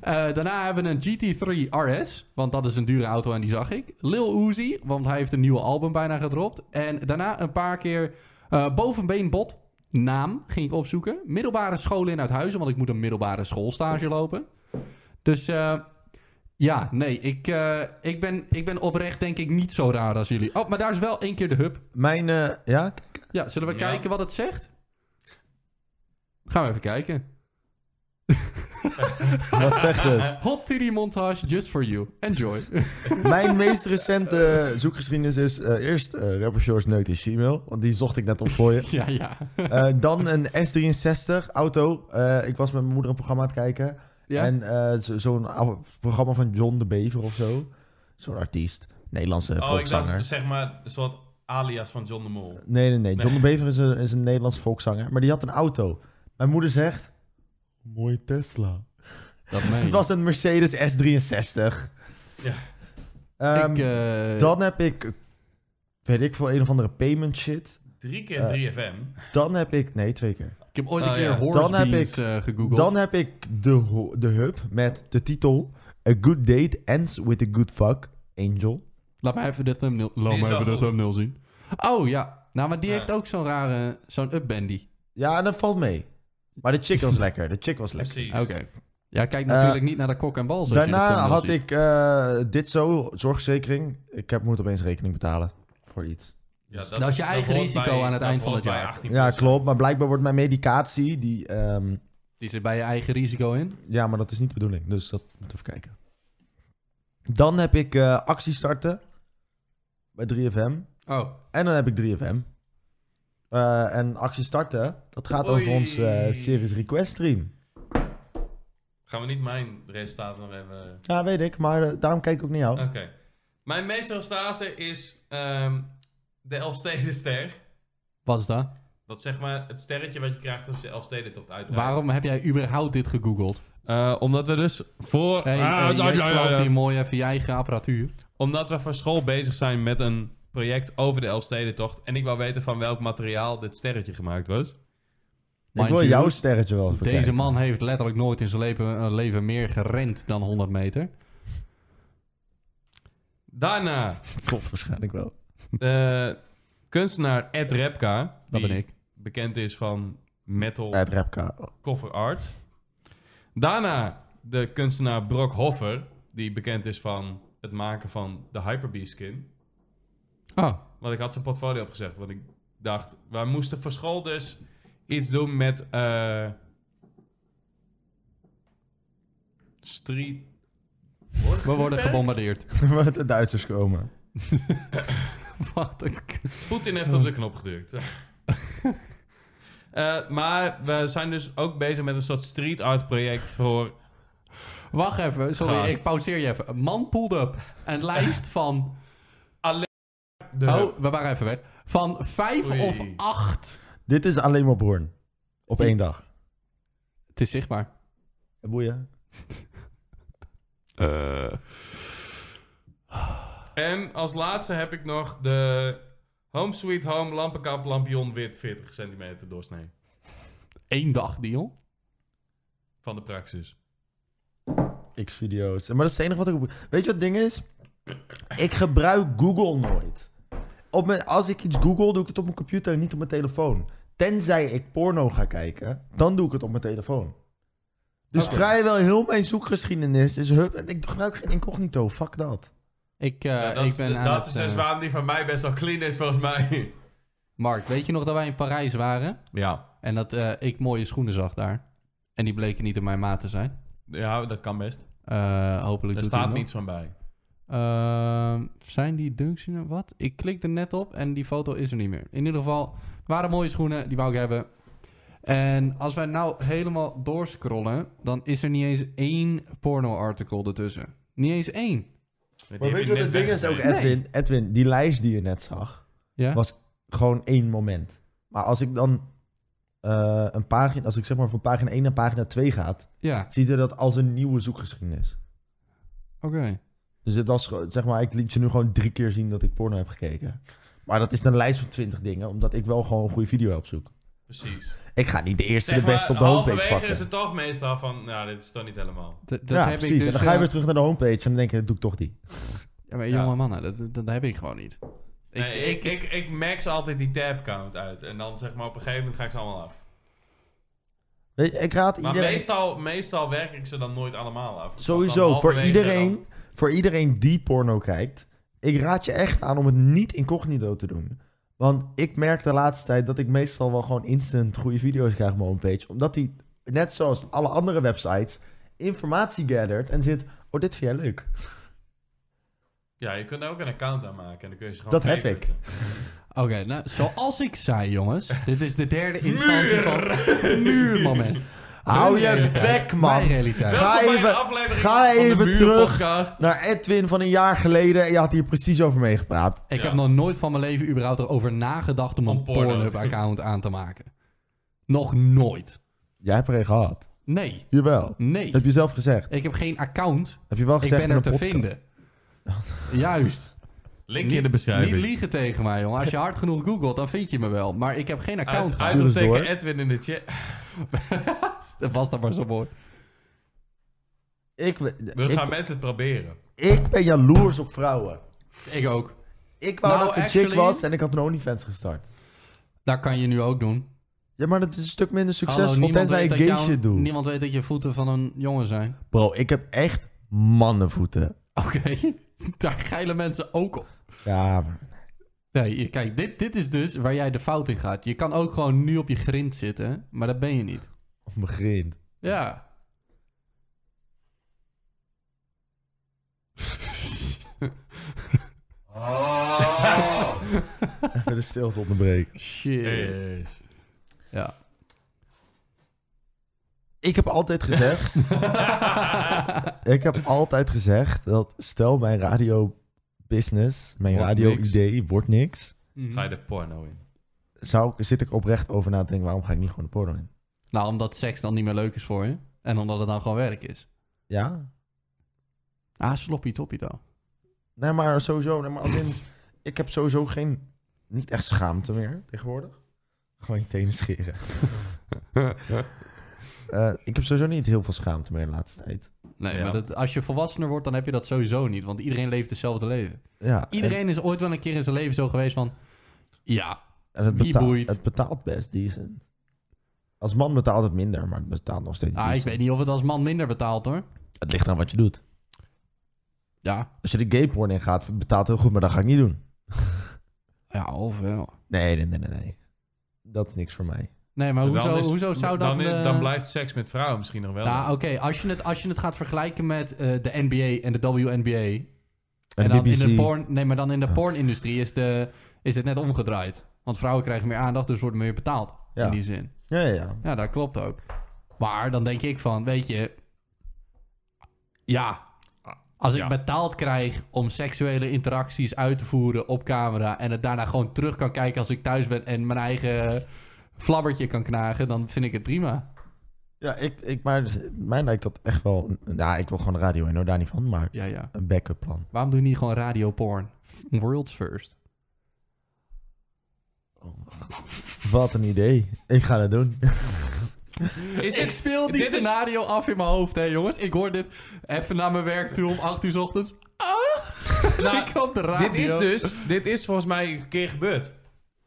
Eh, daarna hebben we een GT3 RS, want dat is een dure auto en die zag ik. Lil Uzi, want hij heeft een nieuwe album bijna gedropt. En daarna een paar keer eh bovenbeenbot, naam ging ik opzoeken. Middelbare school in Uithuizen, want ik moet een middelbare schoolstage lopen. Dus eh, ja, nee, ik, eh, ik, ben, ik ben oprecht denk ik niet zo raar als jullie. Oh, maar daar is wel één keer de hub. Mijn, eh, ja, kijk. Ja, zullen we Ja. kijken wat het zegt? Gaan we even kijken. Wat zegt het? Hot titty montage just for you. Enjoy. *laughs* Mijn meest recente zoekgeschiedenis is eh, eerst eh rapper Shores neukt in Gmail. Want die zocht ik net op *laughs* voor je. ja, ja. Eh, dan een S63 auto. Eh, ik was met mijn moeder een programma aan het kijken. ja? En eh, zo- zo'n oude programma van John de Bever of zo. Zo'n artiest. Nederlandse Oh, ik dacht eh, volkszanger. het is zeg maar een soort alias van John de Mol. Nee, nee, nee. John de Bever is een, is een Nederlands volkszanger. Maar die had een auto. Mijn moeder zegt... Mooie Tesla. dat meen Het was een Mercedes S63. Ja. Ehm, ik. eh, Dan heb ik... Weet ik veel, een of andere payment shit. Drie Eh. keer 3FM. Dan heb ik... Nee, twee keer. ik heb ooit een Oh, keer ja. horse Dan heb beans, eh, gegoogeld. Dan heb ik de, ho- de hub met de titel... A good date ends with a good fuck. Angel. Laat mij even de thumbnail, Die laat is mij wel even eh, de goed. thumbnail zien. Oh ja. Nou, maar die Ja. heeft ook zo'n rare. Zo'n upbandy. Ja, en dat valt mee. Maar de chick *laughs* was lekker. De chick was lekker. Precies. Oké. Ja, kijk natuurlijk niet naar de kok en bal. zoals je dat Eh, Daarna dan wel had ziet. ik eh, dit zo, zorgverzekering. Ik heb, moet opeens rekening betalen voor iets. Ja, Dat is Nou, je eigen hoort risico aan het dat eind van hoort het bij jaar. 18%. Ja, klopt. Maar blijkbaar wordt mijn medicatie, die, ehm, Die zit bij je eigen risico in. ja, maar dat is niet de bedoeling. Dus dat moet even kijken. Dan heb ik eh actie starten bij 3FM. Oh. En dan heb ik 3FM. Eh, en actie starten, dat gaat over Oei. ons eh, series request stream. Gaan we niet mijn resultaat nog even... Ja, weet ik, maar eh, daarom kijk ik ook naar jou. Oké. Mijn meest resultaat is ehm de Elfstedenster. Wat is dat? Dat is zeg maar het sterretje wat je krijgt als je Elfstedentocht uitdraait. Waarom heb jij überhaupt dit gegoogeld? Eh, omdat we dus voor... Hey, Ah, hey, ja, jij ja, ja, sloopt ja. hier mooi even je eigen apparatuur. Omdat we van school bezig zijn met een project over de Elfstedentocht. En ik wou weten van welk materiaal dit sterretje gemaakt was. ik mind wil you, jouw sterretje wel eens bekijken. Deze man heeft letterlijk nooit in zijn leven, eh, leven meer gerend dan 100 meter. *laughs* Daarna Klopt waarschijnlijk wel. de kunstenaar Ed Repka. Dat die ben ik. bekend is van metal Bij *laughs* Repka. cover art. Daarna de kunstenaar Brock Hoffer. Die bekend is van het maken van de Hyper-Beast skin. Oh, Want ik had zijn portfolio opgezegd. Want ik dacht, wij moesten voor school dus iets doen met... eh, street... we worden gebombardeerd. Waar de Duitsers komen. *laughs* Wat een k- Poetin heeft op de knop *laughs* gedrukt. Eh, maar we zijn dus ook bezig met een soort street art project voor... Wacht even, sorry, Gast. ik pauzeer je even. Een Man pulled up een lijst van... De Oh, we waren even weg. Van vijf Oei. of acht. Dit is alleen maar Born. Op één dag. Het is zichtbaar. Boeien. Eh. En als laatste heb ik nog de Home Sweet Home Lampenkamp Lampion wit 40 centimeter doorsnee. Eén dag deal. Van de praxis. X-video's. Maar dat is het enige wat ik... op- Weet je wat het ding is? Ik gebruik Google nooit. Op mijn, als ik iets google, doe ik het op mijn computer en niet op mijn telefoon. Tenzij ik porno ga kijken, dan doe ik het op mijn telefoon. Dus Oké. vrijwel heel mijn zoekgeschiedenis is... Hup, en ik gebruik geen incognito. Fuck dat. Ik, eh, Ja, dat ik is, ben de- aan dat het, is dus eh, waarom die van mij best wel clean is volgens mij. Mark, weet je nog dat wij in Parijs waren? Ja. En dat eh, ik mooie schoenen zag daar. En die bleken niet in mijn maat te zijn. Ja, dat kan best. Eh, hopelijk Er doet hij staat nog. niets van bij. Ehm, zijn die dunks in- wat? Ik klik er net op en die foto is er niet meer. In ieder geval, het waren mooie schoenen, die wou ik hebben. En als wij nou helemaal doorscrollen, dan is er niet eens één porno-artikel ertussen. Niet eens één. Maar weet je wat het ding is ook, Edwin? Edwin, die lijst die je net zag... Ja? was gewoon één moment. Maar als ik dan eh, een pagina, als ik zeg maar van pagina 1 naar pagina 2 gaat, Ja, ziet er dat als een nieuwe zoekgeschiedenis. oké. Dus dit was gewoon- zeg maar, ik liet je nu gewoon drie keer zien dat ik porno heb gekeken. Maar dat is een lijst van 20 dingen, omdat ik wel gewoon een goede video heb zoek. Precies. Ik ga niet de eerste, Zeg de maar, beste op de homepage halverwege pakken. is het toch meestal van, nou, dit is toch niet helemaal. Dat dat ja, heb precies. ik dus... en dan ga je eh, weer terug naar de homepage en dan denk je, doe ik toch die. ja, maar Ja. jonge mannen, dat, dat heb ik gewoon niet. Ik- Nee, ik, ik, ik, max altijd die tab count uit. En dan zeg maar op een gegeven moment ga ik ze allemaal af. Weet je, ik raad Maar iedereen... meestal, meestal werk ik ze dan nooit allemaal af. Want Sowieso, dan voor halverwege iedereen, dan- voor iedereen die porno kijkt, ik raad je echt aan om het niet incognito te doen. Want ik merk de laatste tijd dat ik meestal wel gewoon instant goede video's krijg op mijn homepage. Omdat die, net zoals alle andere websites, informatie gathert en zit, oh dit vind jij leuk. Ja, je kunt daar ook een account aan maken. En dan kun je ze gewoon Dat heb ik. favoriten. Oké, nou, zoals ik zei, jongens, dit is de derde instantie *laughs* van muurmoment. Hou Mijn je realiteit. bek Mijn man. realiteit. Ga Welkom bij even- een aflevering ga van de even Buren terug. Podcast. Naar Edwin van een jaar geleden, en je had hier precies over meegepraat. Ik Ja. heb nog nooit van mijn leven überhaupt erover nagedacht om Om een porno. Pornhub-account aan te maken. Nog nooit. Jij hebt er een gehad. Nee, Jawel. nee. Heb je zelf gezegd. Ik heb geen account. Heb je wel Ik gezegd ben in er een te podcast. vinden. *laughs* Juist. Link Niet- in de beschrijving. Niet liegen tegen mij, jongen. Als je hard genoeg googelt, dan vind je me wel. Maar ik heb geen account. Uit, Stuur eens door. uitroepteken Edwin in de chat. *laughs* Dat was dat maar zo mooi. Ik, We ik, gaan mensen het proberen. ik ben jaloers op vrouwen. Ik ook. Ik wou Nou, dat ik een chick actually- was en ik had een OnlyFans gestart. Dat kan je nu ook doen. Ja, maar dat is een stuk minder succesvol Hallo, niemand tenzij je weet dat jouw- geisje doet. Niemand weet dat je voeten van een jongen zijn. Bro, ik heb echt mannenvoeten. Oké, *laughs* daar geilen mensen ook op. Ja, maar- Nee, je- kijk, dit, dit is dus waar jij de fout in gaat. Je kan ook gewoon nu op je grind zitten, maar dat ben je niet. onbegrind. Ja. Oh. *laughs* Even de stilte onderbreken. Shit. *laughs* Yes. Ja. Ik heb altijd *laughs* gezegd... ik heb altijd gezegd dat stel mijn radio business, mijn Wordt radio niks. idee wordt niks. Mhm. Ga je de porno in? Zou, ik- zit ik oprecht over na te denken, waarom ga ik niet gewoon de porno in? Nou, omdat seks dan niet meer leuk is voor je. En omdat het dan gewoon werk is. Ja? Ah, sloppy toppy dan. Nee, maar sowieso. Nee, maar als in, *laughs* ik heb sowieso geen... Niet echt schaamte meer tegenwoordig. Gewoon je tenen scheren. Eh, ik heb sowieso niet heel veel schaamte meer de laatste tijd. Nee, Ja. maar dat, als je volwassener wordt, dan heb je dat sowieso niet. Want iedereen leeft hetzelfde leven. Ja, Iedereen is ooit wel een keer in zijn leven zo geweest van... Ja, En het, Wie betaalt- boeit? het betaalt best decent. Als man betaalt het minder, maar het betaalt nog steeds ah, ik decent. weet niet of het als man minder betaalt hoor. Het ligt aan wat je doet. Ja. Als je de gay porn in gaat, betaalt heel goed, maar dat ga ik niet doen. Ja, of wel. Nee, nee, nee, nee. nee. Dat is niks voor mij. Nee, maar hoezo, Dan is- hoezo zou dat... Dan, is- eh, dan blijft seks met vrouwen misschien nog wel. Nou, oké, als je het als je het gaat vergelijken met eh, de NBA en de WNBA... En, En de dan BBC, in de porn, nee, maar dan in de Ja. pornindustrie is, de, is het net omgedraaid. Want vrouwen krijgen meer aandacht, dus worden meer betaald. Ja. In die zin. Ja, ja, ja. Ja, dat klopt ook. Maar dan denk ik van, weet je... Ja, als ik Ja. betaald krijg om seksuele interacties uit te voeren op camera... en het daarna gewoon terug kan kijken als ik thuis ben... en mijn eigen flabbertje kan knagen, dan vind ik het prima. Ja, ik, ik, maar dus, mij lijkt dat echt wel... Nou, ik wil gewoon de radio in, hoor, daar niet van, maar Ja, ja. een backup plan. Waarom doe je niet gewoon radioporn? Worlds first. Wat een idee. Ik ga dat doen. *laughs* Is oh, Ik dit, speel die dit is- scenario af in mijn hoofd, hè jongens. Ik hoor dit even naar mijn werk toe om 8 uur 's ochtends. Ah! Nou, ik op de radio. dit is dus, dit is volgens mij een keer gebeurd.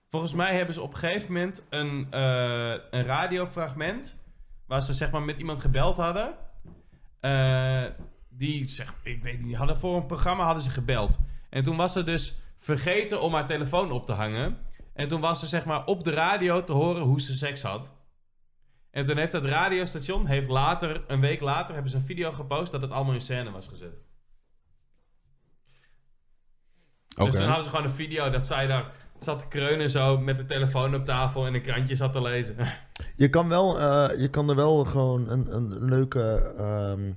Volgens mij hebben ze op een gegeven moment een, eh, een radiofragment. Waar ze zeg maar met iemand gebeld hadden. Eh, die, zeg, ik weet niet, hadden voor een programma hadden ze gebeld. En toen was ze dus vergeten om haar telefoon op te hangen. En toen was ze zeg maar op de radio te horen hoe ze seks had. En toen heeft dat radiostation, heeft later, een week later, hebben ze een video gepost dat het allemaal in scène was gezet. Oké. Dus dan hadden ze gewoon een video dat zij daar zat te kreunen zo met de telefoon op tafel en een krantje zat te lezen. *laughs* Je kan, wel, eh, je kan er wel gewoon een, een leuke ehm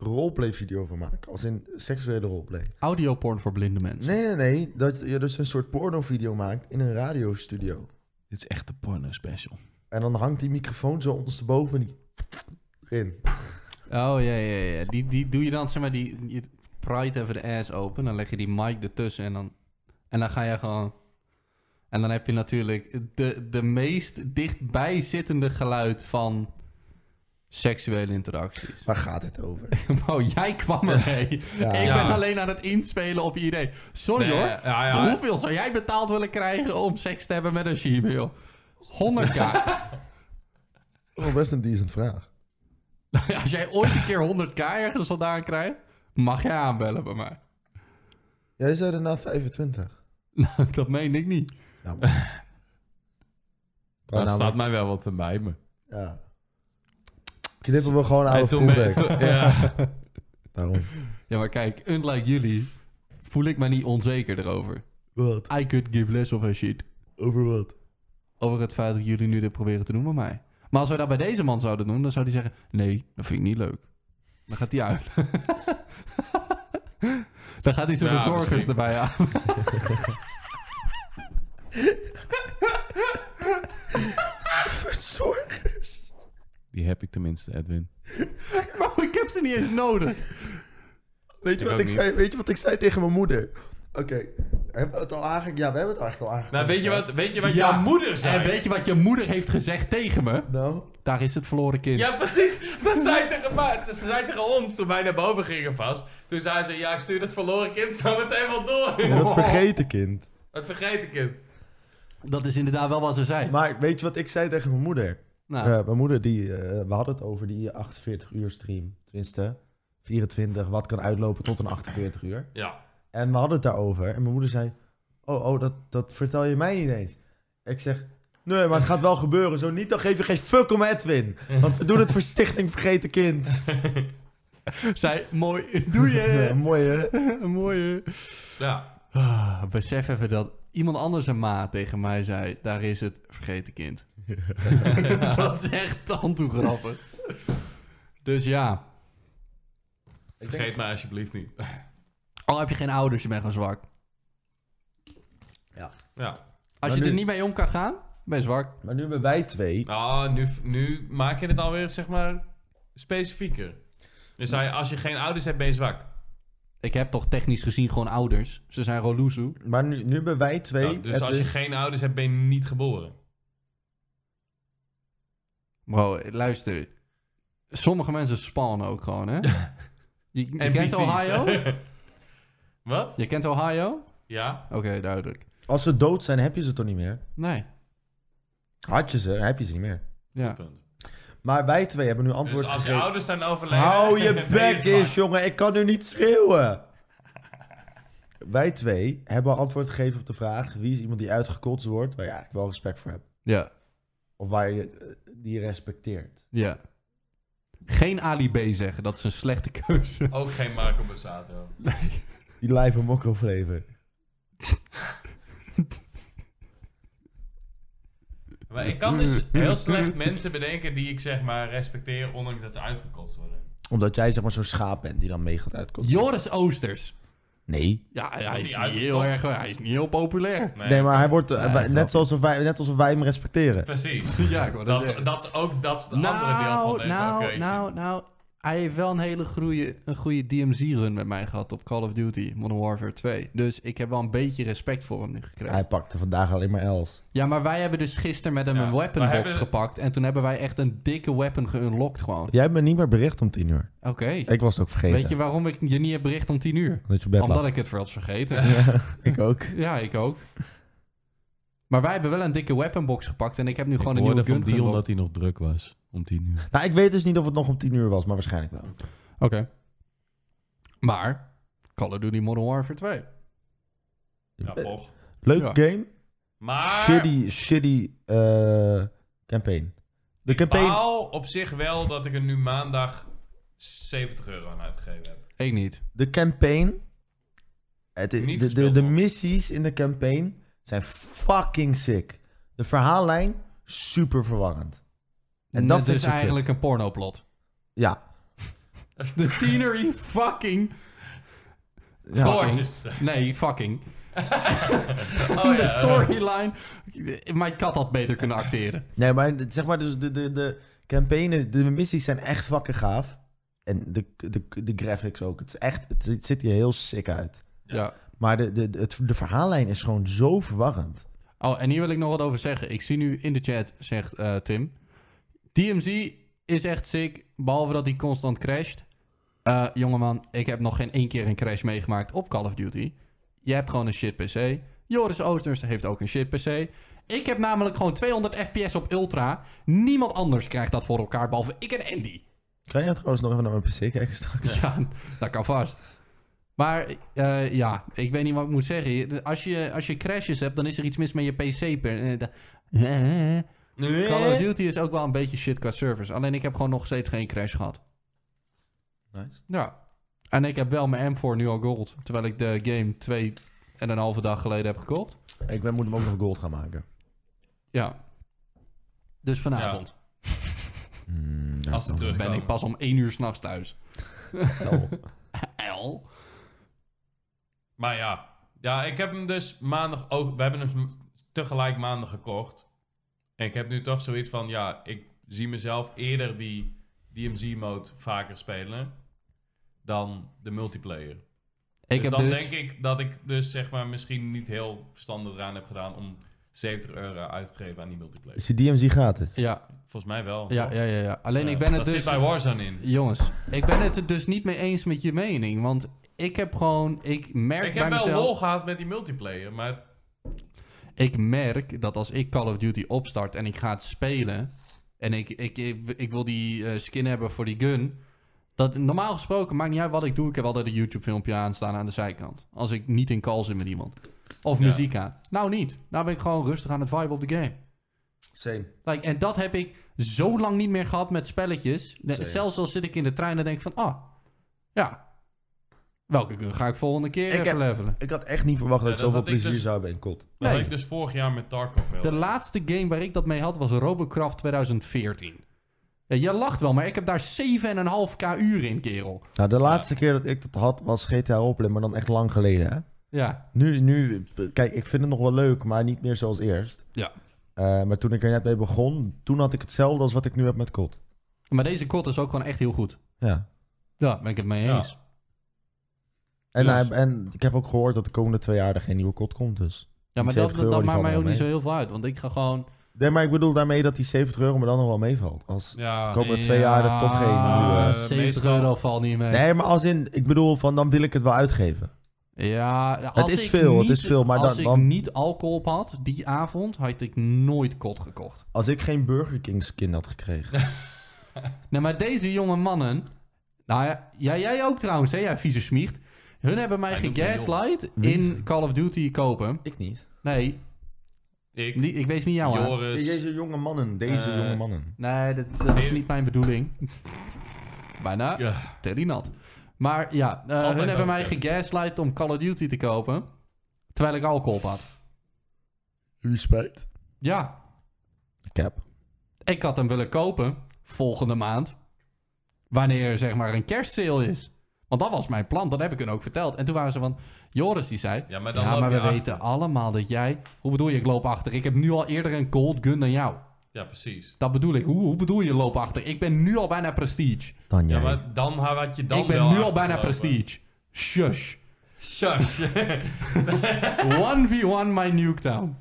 roleplay video van maken. Als in seksuele roleplay. Audioporn voor blinde mensen. Nee, nee, nee. Dat je dus een soort pornovideo maakt in een radiostudio. Dit is echt de porno special. En dan hangt die microfoon zo ondersteboven en die... in. Oh ja, ja, ja. Die, die doe je dan, zeg maar, die, je praait even de ass open. Dan leg je die mic ertussen en dan, en dan ga je gewoon. En dan heb je natuurlijk de, de meest dichtbij zittende geluid van seksuele interacties. *laughs* Waar gaat het over? Wow, jij kwam ermee. Ja. Ik Ja. ben alleen aan het inspelen op je idee. Sorry hoor. Ja, ja, Nou, Hoeveel zou jij betaald willen krijgen om seks te hebben met een Shiba, joh? *laughs* 100k. Oh, best een decent vraag. Als jij ooit een keer 100k ergens vandaan krijgt, mag jij aanbellen bij mij. *laughs* Jij zei daarna 25. Nou, dat meen ik niet. *laughs* Nou, maar... Daar Nou, staat mij wel wat te mijmen. Ja. Knippen we Nou, gewoon out En of toen ben- context. *laughs* ja. Daarom. Ja, maar kijk, unlike jullie voel ik me niet onzeker erover. Wat? I could give less of a shit. Over wat? Over het feit dat jullie nu dit proberen te doen bij mij. Maar als we dat bij deze man zouden doen, dan zou hij zeggen... Nee, dat vind ik niet leuk. Dan gaat hij uit. *laughs* dan gaat hij zijn Ja, verzorgers misschien. erbij aan. Verzorgers. Die heb ik tenminste, Edwin. *laughs* Maar Oh, ik heb ze niet eens nodig. Weet je, Ik wat ook ik niet. zei, weet je wat ik zei tegen mijn moeder? Oké. Hebben we het al aange... Ja, we hebben het eigenlijk al aangekomen. Nou, weet je wat, weet je *laughs* wat Ja. jouw moeder zei? En weet je wat je moeder heeft gezegd tegen me? Nou? Daar is het verloren kind. Ja, precies. Ze zei, tegen mij, ze zei tegen ons toen wij naar boven gingen vast. Toen zei ze, ja, ik stuur *laughs* dat verloren kind zo meteen wel door. dat vergeten kind. Het vergeten kind. Dat is inderdaad wel wat ze zijn. Maar weet je wat ik zei tegen mijn moeder? nou, Eh, mijn moeder, die, eh, we hadden het over die 48 uur stream. Tenminste, 24, wat kan uitlopen tot een 48 uur. Ja. En we hadden het daarover. En mijn moeder zei, oh, oh dat, dat vertel je mij niet eens. Ik zeg, nee, maar het gaat wel gebeuren. Zo niet, dan geef je geen fuck om Edwin. Want we doen het voor Stichting Vergeten Kind. zij, mooi, *laughs* doe *laughs* Ja, je. mooi, hè? mooi. hè? ja. Ah, besef even dat iemand anders een maat tegen mij zei, daar is het *laughs* vergeten kind. dat is echt tandtoegrappig. Dus ja. Ik denk- Vergeet mij alsjeblieft niet. Al heb je geen ouders, je bent gewoon zwak. Ja. Als Maar je nu- er niet mee om kan gaan, ben je zwak. Maar nu hebben wij twee. Nou, nu, nu maak je het alweer, zeg maar, specifieker. Dus hij, als je geen ouders hebt, ben je zwak. Ik heb toch technisch gezien gewoon ouders. Ze zijn gewoon loezoe. Maar nu, nu hebben wij twee. Ja, dus Edwin- als je geen ouders hebt, ben je niet geboren. Bro, luister. Sommige mensen spawnen ook gewoon, *laughs* hè? Je, je kent NPC's. Ohio? *laughs* Wat? Je kent Ohio? Ja. Oké, duidelijk. als ze dood zijn, heb je ze toch niet meer? Nee. Had je ze, heb je ze niet meer. Ja. Punt. Maar wij twee hebben nu antwoord Dus als je gegeven. ouders zijn overleden... Hou *laughs* *laughs* ben je bek zwak. eens, jongen. Ik kan nu niet schreeuwen. Wij twee hebben antwoord gegeven op de vraag... wie is iemand die uitgekotst wordt... waar je eigenlijk wel respect voor hebt. Ja. Of waar je eh, die respecteert. Ja. Geen Ali B zeggen, dat is een slechte keuze. *laughs* Ook geen Marco Borsato. Die lijve mokro flavor. Maar ik kan dus heel slecht mensen bedenken die ik zeg maar respecteer, ondanks dat ze uitgekotst worden. Omdat jij zeg maar zo'n schaap bent die dan mee gaat uitkotsen. Joris Oosters. Nee. Ja, hij die is niet uitgekost. heel erg, hij is niet heel populair. Nee, Nee, maar hij wordt... eh, Nee, wij- grapje. net, zoals of wij, net alsof wij hem respecteren. *laughs* Precies. Ja, ik wou dat Dat, zeggen. is- dat is ook dat is de andere deel van Nou, deze nou, equation. nou, nou. Hij heeft wel een hele goede, een goede DMZ-run met mij gehad op Call of Duty Modern Warfare 2. Dus ik heb wel een beetje respect voor hem nu gekregen. Hij pakte vandaag alleen maar Els. Ja, maar wij hebben dus gisteren met hem Ja, een wij weaponbox hebben- gepakt. En toen hebben wij echt een dikke weapon geunlocked gewoon. Jij hebt me niet meer bericht om tien uur. Oké. Ik was het ook vergeten. Weet je waarom ik je niet heb bericht om 10 uur? Dat je op bed Omdat lag. ik het voor was vergeten. *laughs* Ik ook. ja, ik ook. Maar wij hebben wel een dikke weaponbox gepakt. En ik heb nu gewoon een nieuwe gun geunlocked. hij nog druk was om tien uur. Nou, ik weet dus niet of het nog om tien uur was, maar waarschijnlijk wel. Oké. Maar Call of Duty Modern Warfare 2. Ja, Eh, toch. Leuke game. Maar Shitty, shitty eh, campaign. De ik campaign... baal op zich wel dat ik er nu maandag 70 euro aan uitgegeven heb. Ik niet. De campaign... Het, is- Niet de, de, de gespeeld nog. missies in de campaign zijn fucking sick. De verhaallijn, super verwarrend. En dat Het vind is ik zo dus eigenlijk een *laughs* pornoplot. Ja. De scenery fucking... ja. Voor- Voortjes. Nee, fucking. *laughs* Oh *laughs* De ja. storyline... Mijn kat had beter kunnen acteren. Nee, maar d- zeg maar, dus de, de, de campaignen, de missies zijn echt fucking gaaf. En de, de, de graphics ook. Het, is echt, het, het ziet hier heel sick uit. Ja. ja. Maar de, de, de, het, de verhaallijn is gewoon zo verwarrend. Oh, en hier wil ik nog wat over zeggen. Ik zie nu in de chat, zegt eh, Tim. DMZ is echt sick, behalve dat hij constant crasht. Eh jongeman, ik heb nog geen één keer een crash meegemaakt op Call of Duty. Je hebt gewoon een shit PC. Joris Oosters heeft ook een shit PC. Ik heb namelijk gewoon 200 FPS op Ultra. Niemand anders krijgt dat voor elkaar, behalve ik en Andy. Kan jij trouwens nog even naar mijn PC kijken straks? Ja, dat kan vast. Maar eh, ja, ik weet niet wat ik moet zeggen. Als je, als je crashes hebt, dan is er iets mis met je PC. per- eh, da- Call of Duty is ook wel een beetje shit qua servers. Alleen ik heb gewoon nog steeds geen crash gehad. Nice. Ja. En ik heb wel mijn M4 nu al gold. Terwijl ik de game twee en een halve dag geleden heb gekocht. Ik ben, moet hem ook nog gold gaan maken. Ja. Dus vanavond Hmm, eh, Als het terug ben ik pas om één uur s'nachts thuis. *laughs* L. Maar ja. Ja, ik heb hem dus maandag ook... We hebben hem tegelijk maandag gekocht. En ik heb nu toch zoiets van... Ja, ik zie mezelf eerder die DMZ-mode vaker spelen... dan de multiplayer. dus Ik heb dan dus... denk ik dat ik dus zeg maar misschien niet heel verstandig eraan heb gedaan... om 70 euro uit te geven aan die multiplayer. Is die DMZ gratis? Ja, Volgens mij wel. ja, toch? ja, ja, ja. Alleen Ja, ik ben het dat dus... zit bij Warzone in. Jongens, ik ben het er dus niet mee eens met je mening. Want ik heb gewoon, ik merk Ik bij heb wel mezelf. lol gehad met die multiplayer, maar ik merk dat als ik Call of Duty opstart en ik ga het spelen. En ik, ik, ik, ik wil die eh, skin hebben voor die gun. Dat normaal gesproken maakt niet uit wat ik doe. Ik heb altijd een YouTube filmpje aanstaan aan de zijkant. Als ik niet in call zit met iemand. Of Ja. muziek aan. Nou niet. Nou ben ik gewoon rustig aan het vibe op de game. Same. Like, en dat heb ik zo lang niet meer gehad met spelletjes. Ne- Zeker. Zelfs als zit ik in de trein en denk van, ah, ja. Welke gun ga ik volgende keer Ik even heb- levelen? Ik had echt niet verwacht dat Ja, ik dat zoveel had ik plezier dus- zou hebben in COD. Dat had Nee. ik dus vorig jaar met Tarkov wel. De laatste game waar ik dat mee had was Robocraft 2014. Ja, je lacht wel, maar ik heb daar 7,5k uur in, kerel. Nou, de laatste keer dat ik dat had was GTA Roleplay, maar dan echt lang geleden. Hè? Ja, Nu, nu, kijk, ik vind het nog wel leuk, maar niet meer zoals eerst. Ja. Eh, maar toen ik er net mee begon, toen had ik hetzelfde als wat ik nu heb met COD. maar deze kot is ook gewoon echt heel goed. Ja. Ja, ben ik het mee Ja. eens. Ja, En, Dus- hij- en ik heb ook gehoord dat de komende twee jaar er geen nieuwe COD komt, dus... Die maar 70 dat, euro, dat, die maakt valt mij wel ook niet zo mee. heel veel uit, want ik ga gewoon... Nee, maar ik bedoel daarmee dat die 70 euro me dan nog wel meevalt. Als... Ja, Kom- Komende twee jaar dat toch geen nieuwe- Ja, 70 Meestal- euro valt niet mee. Nee, maar als in, ik bedoel van, dan wil ik het wel uitgeven. Ja, als is ik veel, het niet- is veel, maar als dan- ik dan- niet alcohol op had die avond, had ik nooit kot gekocht. Als ik geen Burger King skin had gekregen. Nee, Nou, maar deze jonge mannen, nou ja, ja, jij ook trouwens, hè, jij vieze smiecht. Hun hebben mij Hij noemt me gegaslight Wie? in Call of Duty kopen. ik niet. Nee, ik, die, ik wees niet jou aan. Joris. Deze jonge mannen, deze Dus- Eh, jonge mannen. Nee, dat, dat is Nee. niet mijn bedoeling. *laughs* Bijna. Ja. Terry nat. Maar ja, eh, Altijd hun hebben mij nodig. gegaslight om Call of Duty te kopen, terwijl ik alcohol op had. Jullie spijt. Ja, Ik heb. Ik had hem willen kopen volgende maand. Wanneer er, zeg maar een kerstsale is. Want dat was mijn plan, dat heb ik hun ook verteld. En toen waren ze van, Joris die zei... Ja, maar dan Ja, loop maar we je achter. weten allemaal dat jij... Hoe bedoel je, ik loop achter? Ik heb nu al eerder een gold gun dan jou. Ja, precies. Dat bedoel ik. Hoe, hoe bedoel je, loop achter? Ik ben nu al bijna prestige. Dan Ja, jij. maar dan had je dan ik ben wel nu al bijna achtergelopen. prestige. Shush. *laughs* Shush. 1v1 my Nuketown.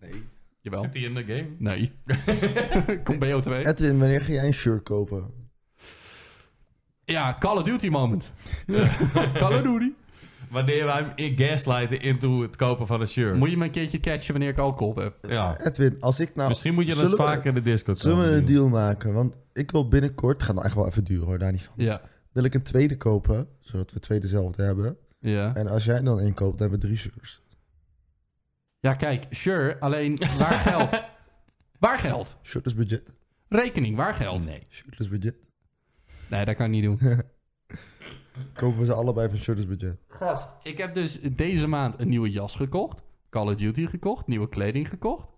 Nee. Jawel. Zit hij in de game? Nee. *laughs* Kom BO2. Edwin, wanneer ga jij een shirt kopen? Ja, Call of Duty moment. *laughs* Call of Duty. Wanneer wij hem in gaslighten into het kopen van een shirt. Moet je me een keertje catchen wanneer ik alcohol op heb? ja. Edwin, als ik nou... Misschien moet je eens Zullen we- vaker in de Discord Zullen we komen, een deal maken? Want ik wil binnenkort... Het gaat nou echt wel even duren hoor, daar niet van. Ja. Wil ik een tweede kopen, zodat we twee dezelfde hebben. Ja. En als jij dan één koopt, dan hebben we drie shirts. ja, kijk, sure, alleen waar *laughs* geld? Waar geld? Shirtless budget. Rekening, waar geld? Nee. Shirtless budget. Nee, dat kan ik niet doen. Kopen we ze allebei van shirtless budget. Gast, ik heb dus deze maand een nieuwe jas gekocht. Call of Duty gekocht, nieuwe kleding gekocht.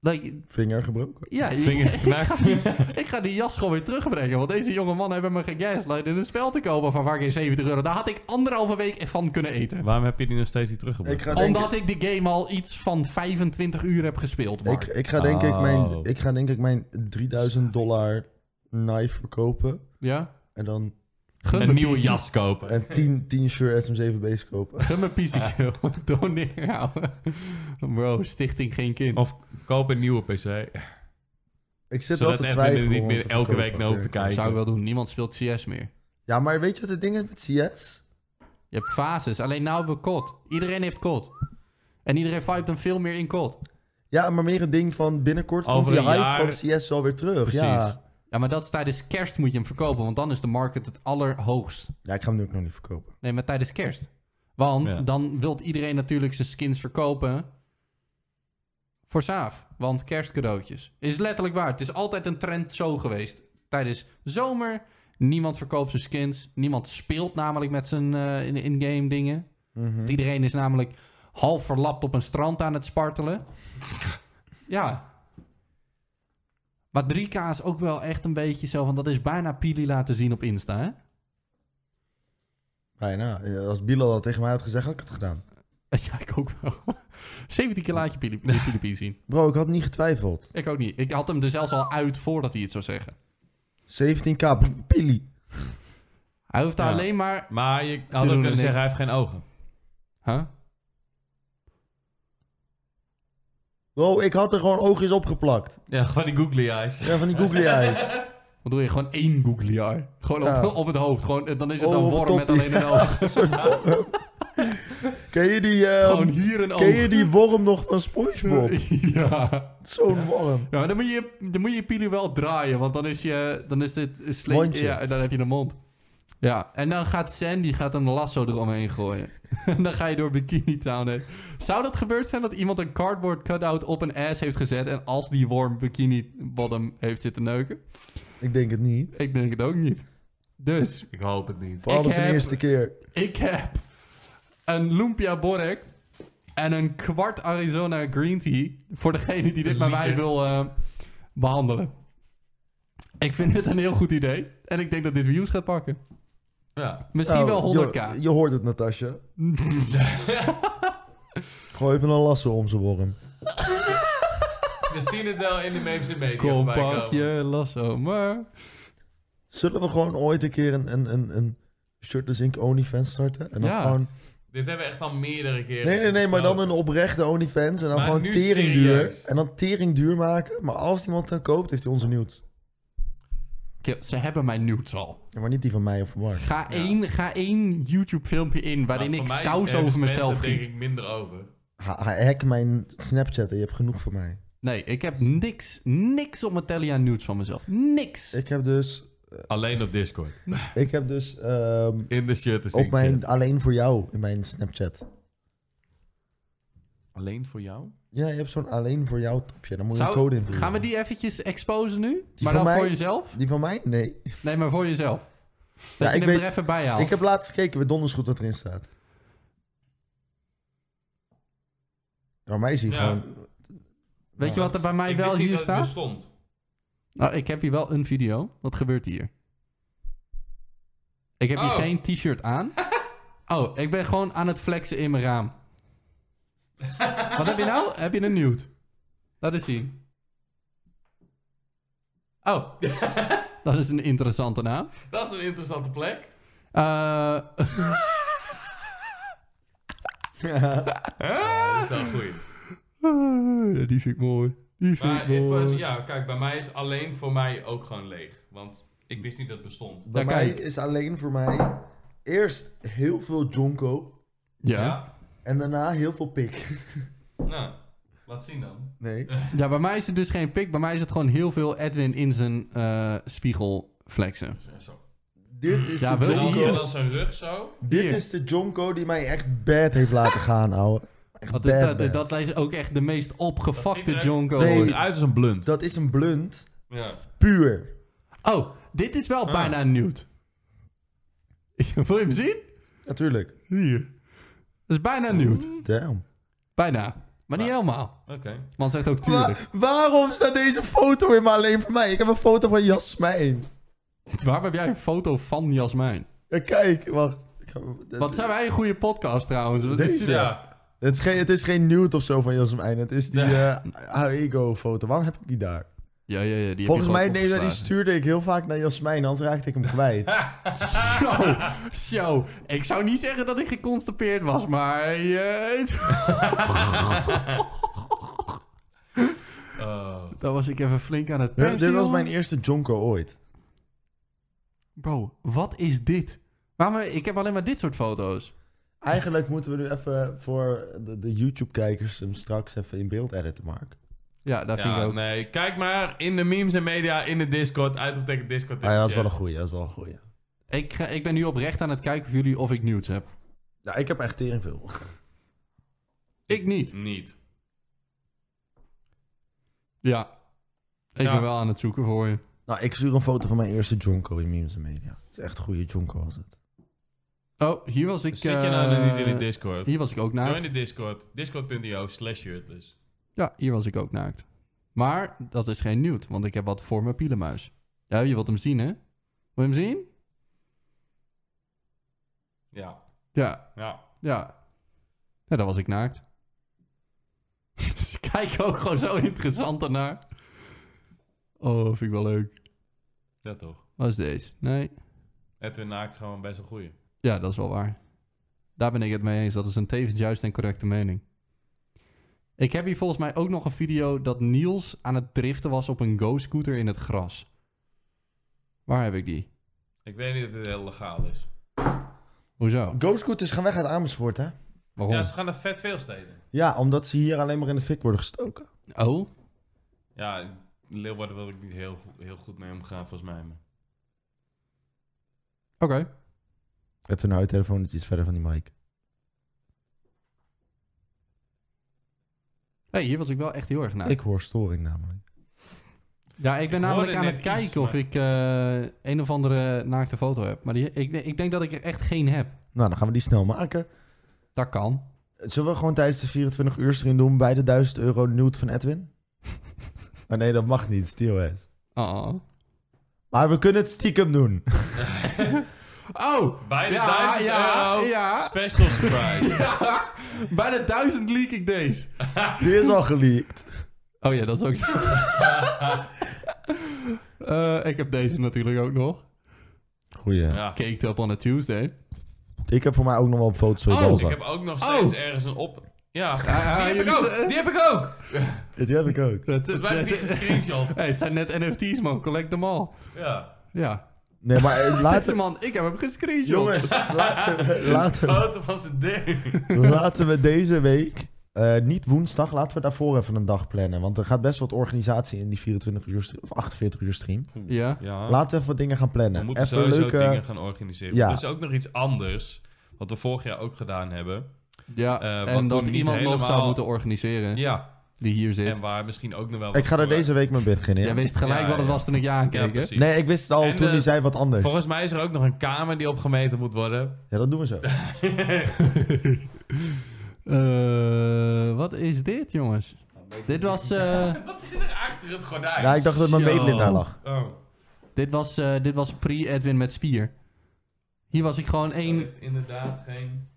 Like, Vinger gebroken. ja, Vingers *laughs* ik, geknakt. ga die, ik ga die jas gewoon weer terugbrengen. Want deze jonge mannen hebben me gegaslight in een spel te kopen van waar geen 70 euro. Daar had ik anderhalve week van kunnen eten. Waarom heb je die nog steeds niet teruggebracht? Ik ga denk, Omdat ik de game al iets van 25 uur heb gespeeld, Mark. ik, ik ga denk ik mijn, Oh. ik ga denk ik mijn 3000 dollar knife verkopen. Ja? En dan Gun me Een nieuwe PC. *laughs* jas kopen. en 10, 10 shirt SM7B's kopen. Gun mijn PC *laughs* Doneer, ouwe. Bro, stichting geen kind. Oh, Of koop een nieuwe PC. Ik zit wel Zodat te Edwin er twijfelen. niet om meer te elke verkopen. week naar hoeft te kijken. dat zou ik wel doen. Niemand speelt CS meer. Ja, maar weet je wat het ding is met CS? Je hebt fases. Alleen nou hebben we COD. Iedereen heeft COD. En iedereen vibe dan veel meer in COD. Ja, maar meer een ding van binnenkort Over komt die een hype jaar- van CS wel weer terug. Precies. Ja. Ja, maar dat is tijdens kerst moet je hem verkopen. Want dan is de market het allerhoogst. ja, ik ga hem nu ook nog niet verkopen. Nee, maar tijdens kerst. Want Ja. dan wilt iedereen natuurlijk zijn skins verkopen. Voor Saaf. Want kerstcadeautjes. Is letterlijk waar. Het is altijd een trend zo geweest. Tijdens zomer. Niemand verkoopt zijn skins. Niemand speelt namelijk met zijn eh, in- in-game dingen. Mhm. Iedereen is namelijk half verlapt op een strand aan het spartelen. ja. Maar 3K is ook wel echt een beetje zo van... Dat is bijna Pili laten zien op Insta, hè? Bijna. Ja, Als Bilal dat tegen mij had gezegd, had ik het gedaan. *laughs* Ja, ik ook wel. 17 keer laat je Pili- je Pili zien. Bro, ik had niet getwijfeld. Ik ook niet. Ik had hem er zelfs al uit voordat hij het zou zeggen. 17k, Pili. Hij hoeft daar Ja. alleen maar... Maar je had doen ook we kunnen niks. zeggen, hij heeft geen ogen. Huh? Bro, ik had er gewoon oogjes op geplakt. Ja, gewoon die googly eyes. Ja, van die googly eyes. *laughs* Wat doe je? Gewoon één googly eye. Gewoon *laughs* op, Ja. op het hoofd. Gewoon, dan is het Oh, een *laughs* op het worm met toppie. alleen een oog. Een soort worm. Ken je die, eh, Gewoon hier en ken je *laughs* die worm nog van *laughs* Spongebob? ja. Zo'n worm. ja, maar dan moet je dan moet je pilu wel draaien, want dan is, je, dan is dit een slik- Mondje. Ja, en dan heb je een mond. Ja, en dan gaat Sandy gaat een lasso eromheen gooien. *laughs* en dan ga je door Bikini Town heen. Zou dat gebeurd zijn dat iemand een cardboard cutout op een ass heeft gezet en als die worm Bikini Bottom heeft zitten neuken? Ik denk het niet. Ik denk het ook niet. Dus, Ik hoop het niet. Vooral Ik als de heb- eerste keer. ik heb een Lumpia Borek en een kwart Arizona Green Tea voor degene die dit bij mij Liter. wil eh, behandelen. Ik vind dit een heel goed idee en ik denk dat dit views gaat pakken. Ja. Misschien Nou, Dus wel 100k. Je, je hoort het, *laughs* Natasja. Gooi even een lasso om zijn worm. We zien het wel in de memes en media Kom, voorbij pak komen. je lasso maar. Zullen we gewoon ooit een keer een, een, een, een shirtless ink OnlyFans starten? En dan Ja. gewoon... Dit hebben we echt al meerdere keren Nee, nee, nee, maar dan besproken. een oprechte OnlyFans. En dan Maar gewoon nu tering serieus. duur. En dan tering duur maken. Maar als iemand dan koopt, heeft hij onze nieuws. Kill, Ze hebben mijn nudes al. Ja, maar niet die van mij of van Mark. Ga, Ja. één, ga één YouTube filmpje in Maar waarin ik voor mij saus hebben over mensen mezelf denk giet. ik minder over. Ha- ha- hack mijn Snapchat en je hebt genoeg van mij. Nee, ik heb niks, niks op mijn telly aan nudes van mezelf. Niks. Ik heb dus... Alleen op Discord. Ik heb dus... ehm, In de shirt is op mijn, alleen voor jou in mijn Snapchat. Alleen voor jou? Ja, je hebt zo'n alleen voor jou topje. Dan moet je Zou- een code invoeren. Gaan we die eventjes exposen nu? van maar dan mij? voor jezelf? Die van mij? Nee. Nee, maar voor jezelf. Ja, Dat je ik hem weet- er even bij haalt. Ik heb laatst gekeken, we donders goed wat erin staat. Bij mij zie je Ja. *laughs* gewoon... Weet je wat er bij mij ik wel wist niet hier dat het staat? bestond. Nou, ik heb hier wel een video. Wat gebeurt hier? Ik heb Oh. hier geen *laughs* t-shirt aan. Oh, ik ben gewoon aan het flexen in mijn raam. Wat heb je nou? Heb je een nude? Laat eens zien. Oh, *laughs* dat is een interessante naam. Dat is een interessante plek. Eh, Ja, dat is wel een goeie. Ah, ja, die vind ik mooi. Die vind Maar ik ik was- mooi. ja, kijk, bij mij is alleen voor mij ook gewoon leeg. Want ik wist niet dat het bestond. Bij Ja, mij kijk. is alleen voor mij eerst heel veel Jonko ja. en daarna heel veel pik. *laughs* Nou, laat zien dan. Nee. Ja, bij mij is het dus geen pik. Bij mij is het gewoon heel veel Edwin in zijn eh, spiegel flexen. Zo. Dit is, Ja, de wil je En dan, jonko, en dan zijn rug zo. dit Hier. is de jonko die mij echt bad heeft laten gaan, ouwe. Echt Wat is bad, dat? bad. Dat is ook echt de meest Dat ziet opgefakte er Jonko. Nee. ooit. uit als een blunt. Dat is een blunt, Ja. puur. Oh, dit is wel Ah. bijna nude. *laughs* Wil je hem zien? Natuurlijk. Hier. Dat is bijna nude. Damn. Bijna. Maar niet Maar- helemaal. Oké. Want zegt ook tuurlijk. Wa- waarom staat deze foto in maar alleen voor mij? Ik heb een foto van Jasmijn. Waarom heb jij een foto van Jasmijn? Ja, kijk, wacht. Ik ga- Wat zijn wij een goede podcast trouwens. Wat is Deze. dit? Ja. Het is, geen, het is geen nude of zo van Jasmijn. Het is die Nee. eh Haego-foto. Waarom heb ik die daar? Ja, ja, ja. Die Volgens mij neemt nee, nou, die stuurde ik heel vaak naar Jasmijn, anders raakte ik hem *laughs* kwijt. Zo, zo. Ik zou niet zeggen dat ik geconstapeerd was, maar... eh, Oh. Daar was ik even flink aan het Dit- pimpen, dit was jongen. mijn eerste Jonko ooit. Bro, wat is dit? Waarom, eh, ik heb alleen maar dit soort foto's. Eigenlijk moeten we nu even voor de, de YouTube-kijkers hem straks even in beeld editen, Mark. Ja, dat vind ik Ja, ook. nee. Kijk maar in de memes en media, in de Discord. Uitroepteken Discord. in Ah, ja, de dat is wel een chat. goeie, dat is wel een goeie. Ik, ga- ik ben nu oprecht aan het kijken of jullie of ik nudes heb. Ja, ik heb echt tering veel. Ik niet. Niet. Ja. Ik Ja. ben wel aan het zoeken voor je. Nou, ik stuur een foto van mijn eerste Jonko in memes en media. Dat is echt een goede Jonko was het. Oh, hier was ik... Zit je nou eh, dan niet in de Discord? Hier was ik ook Join naakt. de Discord. Discord.io slash dus. shirtless. Ja, hier was ik ook naakt. Maar dat is geen nude, want ik heb wat voor mijn pielenmuis. Ja, je wilt hem zien, hè? Wil je hem zien? Ja. Ja, Ja. ja. Ja, daar was ik naakt. *laughs* Ze kijken ook gewoon zo interessant ernaar. Oh, vind ik wel leuk. Ja, toch. Wat is deze? Nee. Edwin Naakt is gewoon best een goeie. Ja, dat is wel waar. Daar ben ik het mee eens. Dat is een tevens juiste en correcte mening. Ik heb hier volgens mij ook nog een video dat Niels aan het driften was op een go-scooter in het gras. Waar heb ik die? Ik weet niet of dit heel legaal is. Hoezo? Ghostcoot is gaan weg uit Amersfoort, hè? Waarom? Ja, ze gaan naar vet veel steden. Ja, omdat ze hier alleen maar in de fik worden gestoken. Oh, Ja, in Leeuwarden wil ik niet heel, go- heel goed mee omgaan, volgens mij. maar- oké. Zet hun telefoon iets verder van die mic. Hey, hier was ik wel echt heel erg naar. Nou. Ik hoor storing namelijk. ja, ik ben ik namelijk hoorde aan net het kijken iets, of maar- ik eh, een of andere naakte foto heb. Maar die, ik, ik denk dat ik er echt geen heb. Nou, dan gaan we die snel maken. Dat kan. Zullen we gewoon tijdens de 24 uur stream doen bij de 1000 euro nude van *laughs* Edwin? oh nee, dat mag niet. SteelS. Oh. Maar we kunnen het stiekem doen. *laughs* Oh! Bij de Ja, 1000 ja, euro ja. *laughs* special surprise. Bij de duizend leak ik deze. Die is al geleakt. Oh ja, dat is *laughs* ook zo. Eh, ik heb deze natuurlijk ook nog. Goeie. ja. Caked up on a Tuesday. Ik heb voor mij ook nog wel een foto van Oh, Dalsa. Ik heb ook nog steeds Oh. ergens een op... Ja, Ah, die, heb ik jullie ook, zijn- die heb ik ook. Die heb ik ook. Het, Dat werd *laughs* niet gescreenshot. Hey, het zijn net NFT's, man. Collect them all. Ja. Ja. Nee, maar *laughs* eh, Laatste laten man, ik heb hem gescreenshot. Jongens, laten we, laten, we- Foto van zijn ding. laten we deze week... eh, niet woensdag, laten we daarvoor even een dag plannen. Want er gaat best wat organisatie in die 24 uur stream- of 48 uur stream. Ja. Ja. Laten we even wat dingen gaan plannen. We moeten even sowieso leuke... dingen gaan organiseren. Ja. Er is ook nog iets anders, wat we vorig jaar ook gedaan hebben. Ja, Eh, wat en toen dat niet iemand nog zou helemaal- moeten organiseren Ja, die hier zit. en waar misschien ook nog wel... Ik wat ga er voor- deze week mee beginnen. ja. Jij wist gelijk Ja, wat het ja. was toen ik je aankeek, Ja, hè? precies. Nee, ik wist het al En, toen eh, hij zei wat anders. Volgens mij is er ook nog een kamer die opgemeten moet worden. Ja, dat doen we *laughs* zo. *laughs* Eh, wat is dit, jongens? Dit was, eh, Wat is er achter het gordijn? Ja, ik dacht dat mijn Zo. meetlint daar lag. Oh, dit was, eh, dit was pre-Edwin met Spier. Hier was ik gewoon één... dat is inderdaad geen...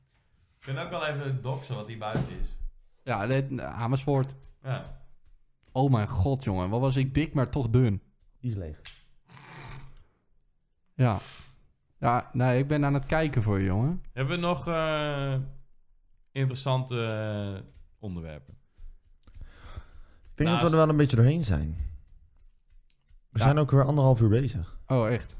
Ik kan ook wel even doxen wat hier buiten is. Ja, dit, Amersfoort. Ja. Oh mijn god, jongen. Wat was ik dik, maar toch dun. Die is leeg. Ja. Ja, nee, ik ben aan het kijken voor je, jongen. Hebben we nog eh, interessante eh, onderwerpen? Ik denk dat Naast- we er wel een beetje doorheen zijn. We Ja. zijn ook weer anderhalf uur bezig. Oh, echt?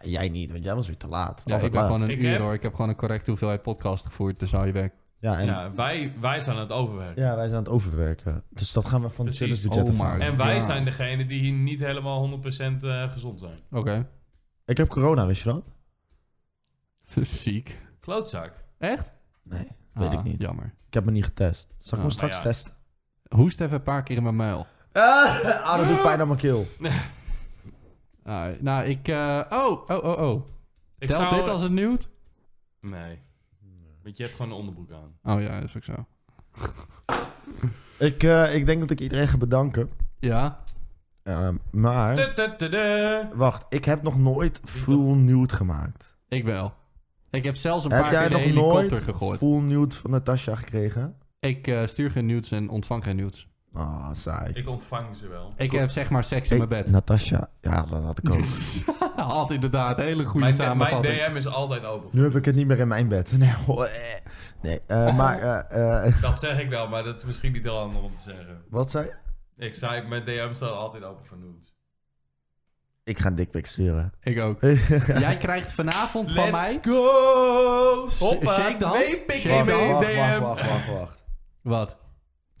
Ja, Jij niet, want jij was weer te laat. Ja, Altijd ik ben laat. gewoon een Ik uur, heb- hoor. Ik heb gewoon een correcte hoeveelheid podcast gevoerd, dus hou je weg. Ja, en... ja. Ja, wij, wij zijn aan het overwerken. wij zijn aan het overwerken. Dus dat gaan we van de Precies. challenge budget Oh afhalen. my- En wij Ja. zijn degene die hier niet helemaal 100% eh, gezond zijn. Oké. Ik heb corona, wist je dat? Ziek. Klootzak. Echt? Nee, weet Ah, ik niet. Jammer. Ik heb me niet getest. Zal ik me Ah. straks Maar ja. testen? Hoest even een paar keer in mijn muil. Ah, ah, dat doet pijn aan mijn keel. Ah, nou, ik... eh, Oh, oh, oh, oh. Ik Telt zou- dit als een nude? Nee. Want je hebt gewoon een onderbroek aan. Oh ja, is ook zo. Ik, eh, ik denk dat ik iedereen ga bedanken. Ja. Eh, maar... Tututudu. Wacht, ik heb nog nooit full nude gemaakt. Ik wel. Ik heb zelfs een Heb paar keer jij de nog helikopter nooit gegooid. full nude van Natasja gekregen? Ik eh, stuur geen nudes en ontvang geen nudes. Ah, saai. Ik ontvang ze wel. Ik heb zeg maar seks in Ik- mijn bed. *laughs* Natasja, ja, dat had ik ook. Had inderdaad een hele goede Mijn, mijn samenvatting. DM is altijd open. nu heb ik het niet meer in mijn bed. *laughs* Nee, hoor, eh. nee eh, *laughs* maar eh, eh, Dat zeg ik wel, maar dat is misschien niet heel handig om te zeggen. wat zei je? Ik zei, mijn DM staat altijd open voor nudes. Ik ga een dikpik sturen. *laughs* Ik ook. Jij krijgt vanavond van mij... go! Hoppa, Shake de hand. twee pikken in Shake wacht, de mijn wacht, DM. wacht, wacht, wacht, wacht. Wat?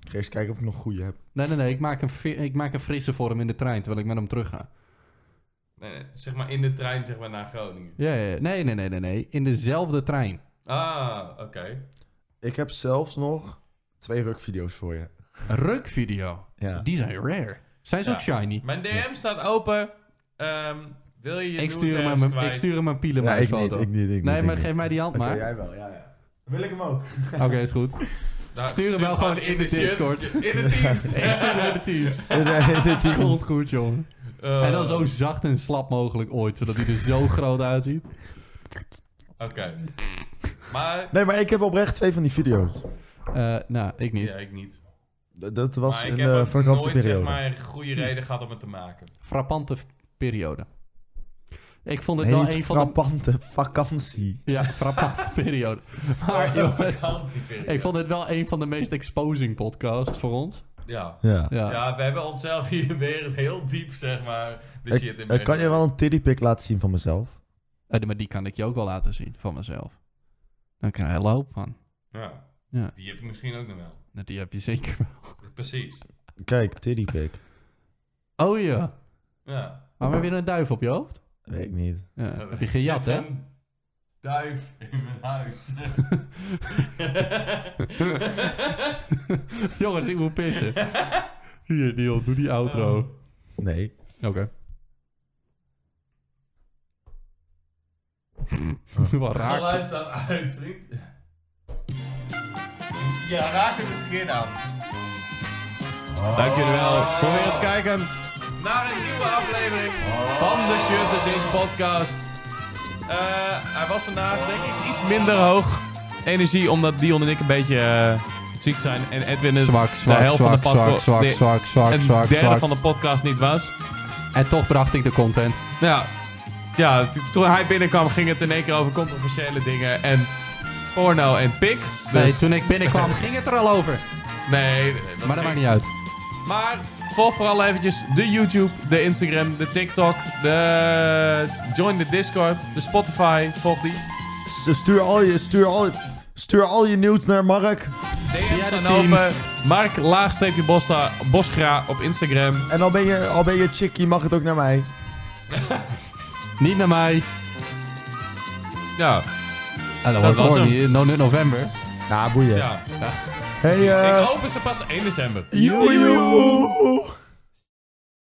Ik ga eens kijken of ik nog goede heb. Nee, nee, nee. Ik maak, een fi- ik maak een frisse voor hem in de trein terwijl ik met hem terug ga. Nee, nee, zeg maar in de trein zeg maar naar Groningen. Ja, ja, ja. Nee, nee, nee, nee, nee. In dezelfde trein. Ah, oké. Ik heb zelfs nog twee rukvideo's voor je. Rukvideo. Ja. Die zijn rare. Zijn ze Ja. ook shiny? Mijn DM staat open. Ehm, wil je je Ik nude stuur, hem ergens aan mijn, kwijt? ik stuur hem een pielen Ja, mijn ik niet, foto. ik niet, ik niet. nee, ik maar niet. geef mij die hand Oké, maar. jij wel, ja, ja. *laughs* Wil ik hem ook? *laughs* Oké, is goed. *laughs* Nou, Stuur hem wel gewoon in de shit, Discord. In de Teams. *laughs* Ik stuur naar de *laughs* teams. Komt goed, jongen. Eh, En dan zo zacht en slap mogelijk ooit, zodat hij er zo groot uitziet. Oké. Maar... Nee, maar ik heb oprecht twee van die video's. Eh, nou, ik niet. Ja, ik niet. D- Dat was maar in ik eh, heb de ook nooit vakantieperiode. zeg maar een goede reden gehad om het te maken. Frappante f- periode. Ik vond het Een wel hele een van frappante *laughs* vakantie. de... Ja, *laughs* frappante periode. *laughs* *laughs* Maar jongens, vakantieperiode. ik vond het wel een van de meest exposing podcasts voor ons. Ja. Ja. Ja. Ja, we hebben onszelf hier *laughs* weer heel diep, zeg maar, de Ik, shit in ik kan je wel een tittypik laten zien van mezelf? Eh, maar die kan ik je ook wel laten zien van mezelf. Dan krijg je een hele hoop van. Ja. Ja. Die heb ik misschien ook nog wel. Nou, die heb je zeker wel. Precies. Kijk, tittypik. Oh ja. Ja. Maar we hebben weer een duif op je hoofd. Weet ik niet. Ja, Er Eh, heb je gejat, zit hè? een Duif in mijn huis. *laughs* Jongens, ik moet pissen. Hier, Dion, doe die outro. Nee. Oké. *laughs* Wat raar. Geluid staat uit, vriend. Ja, raak het verkeerd aan. Dank jullie wel voor weer het kijken Naar een nieuwe aflevering van de Shirt is Inc. podcast. Eh, hij was vandaag denk ik iets minder hoog energie, omdat Dion en ik een beetje eh, ziek zijn. En Edwin is Zwak, de zwak, helft zwak, van de zwak, podcast. zwak, zwak, zwak, een zwak, derde zwak. van de podcast niet was. En toch bracht ik de content. Ja, ja t- toen hij binnenkwam ging het in één keer over controversiële dingen en porno en pik. Dus, Nee, toen ik *laughs* binnenkwam ging het er al over. nee, Maar dat ging- maakt niet uit. Maar volg vooral eventjes de YouTube, de Instagram, de TikTok, de join de Discord, de Spotify, volg die. S- Stuur al je, stuur al, stuur al je nieuws naar Mark. DM's de zijn teams. open. Mark laagstreepje Bosta, Bosgra op Instagram. En al ben je, al ben je chickie, mag het ook naar mij. Niet naar mij. Ja, Ah, dat Dat wordt was mooi. hem. die- No Nut November. Nou, boeien. ja. Hey, eh... Ik hoop het ze pas 1 december. joejoe.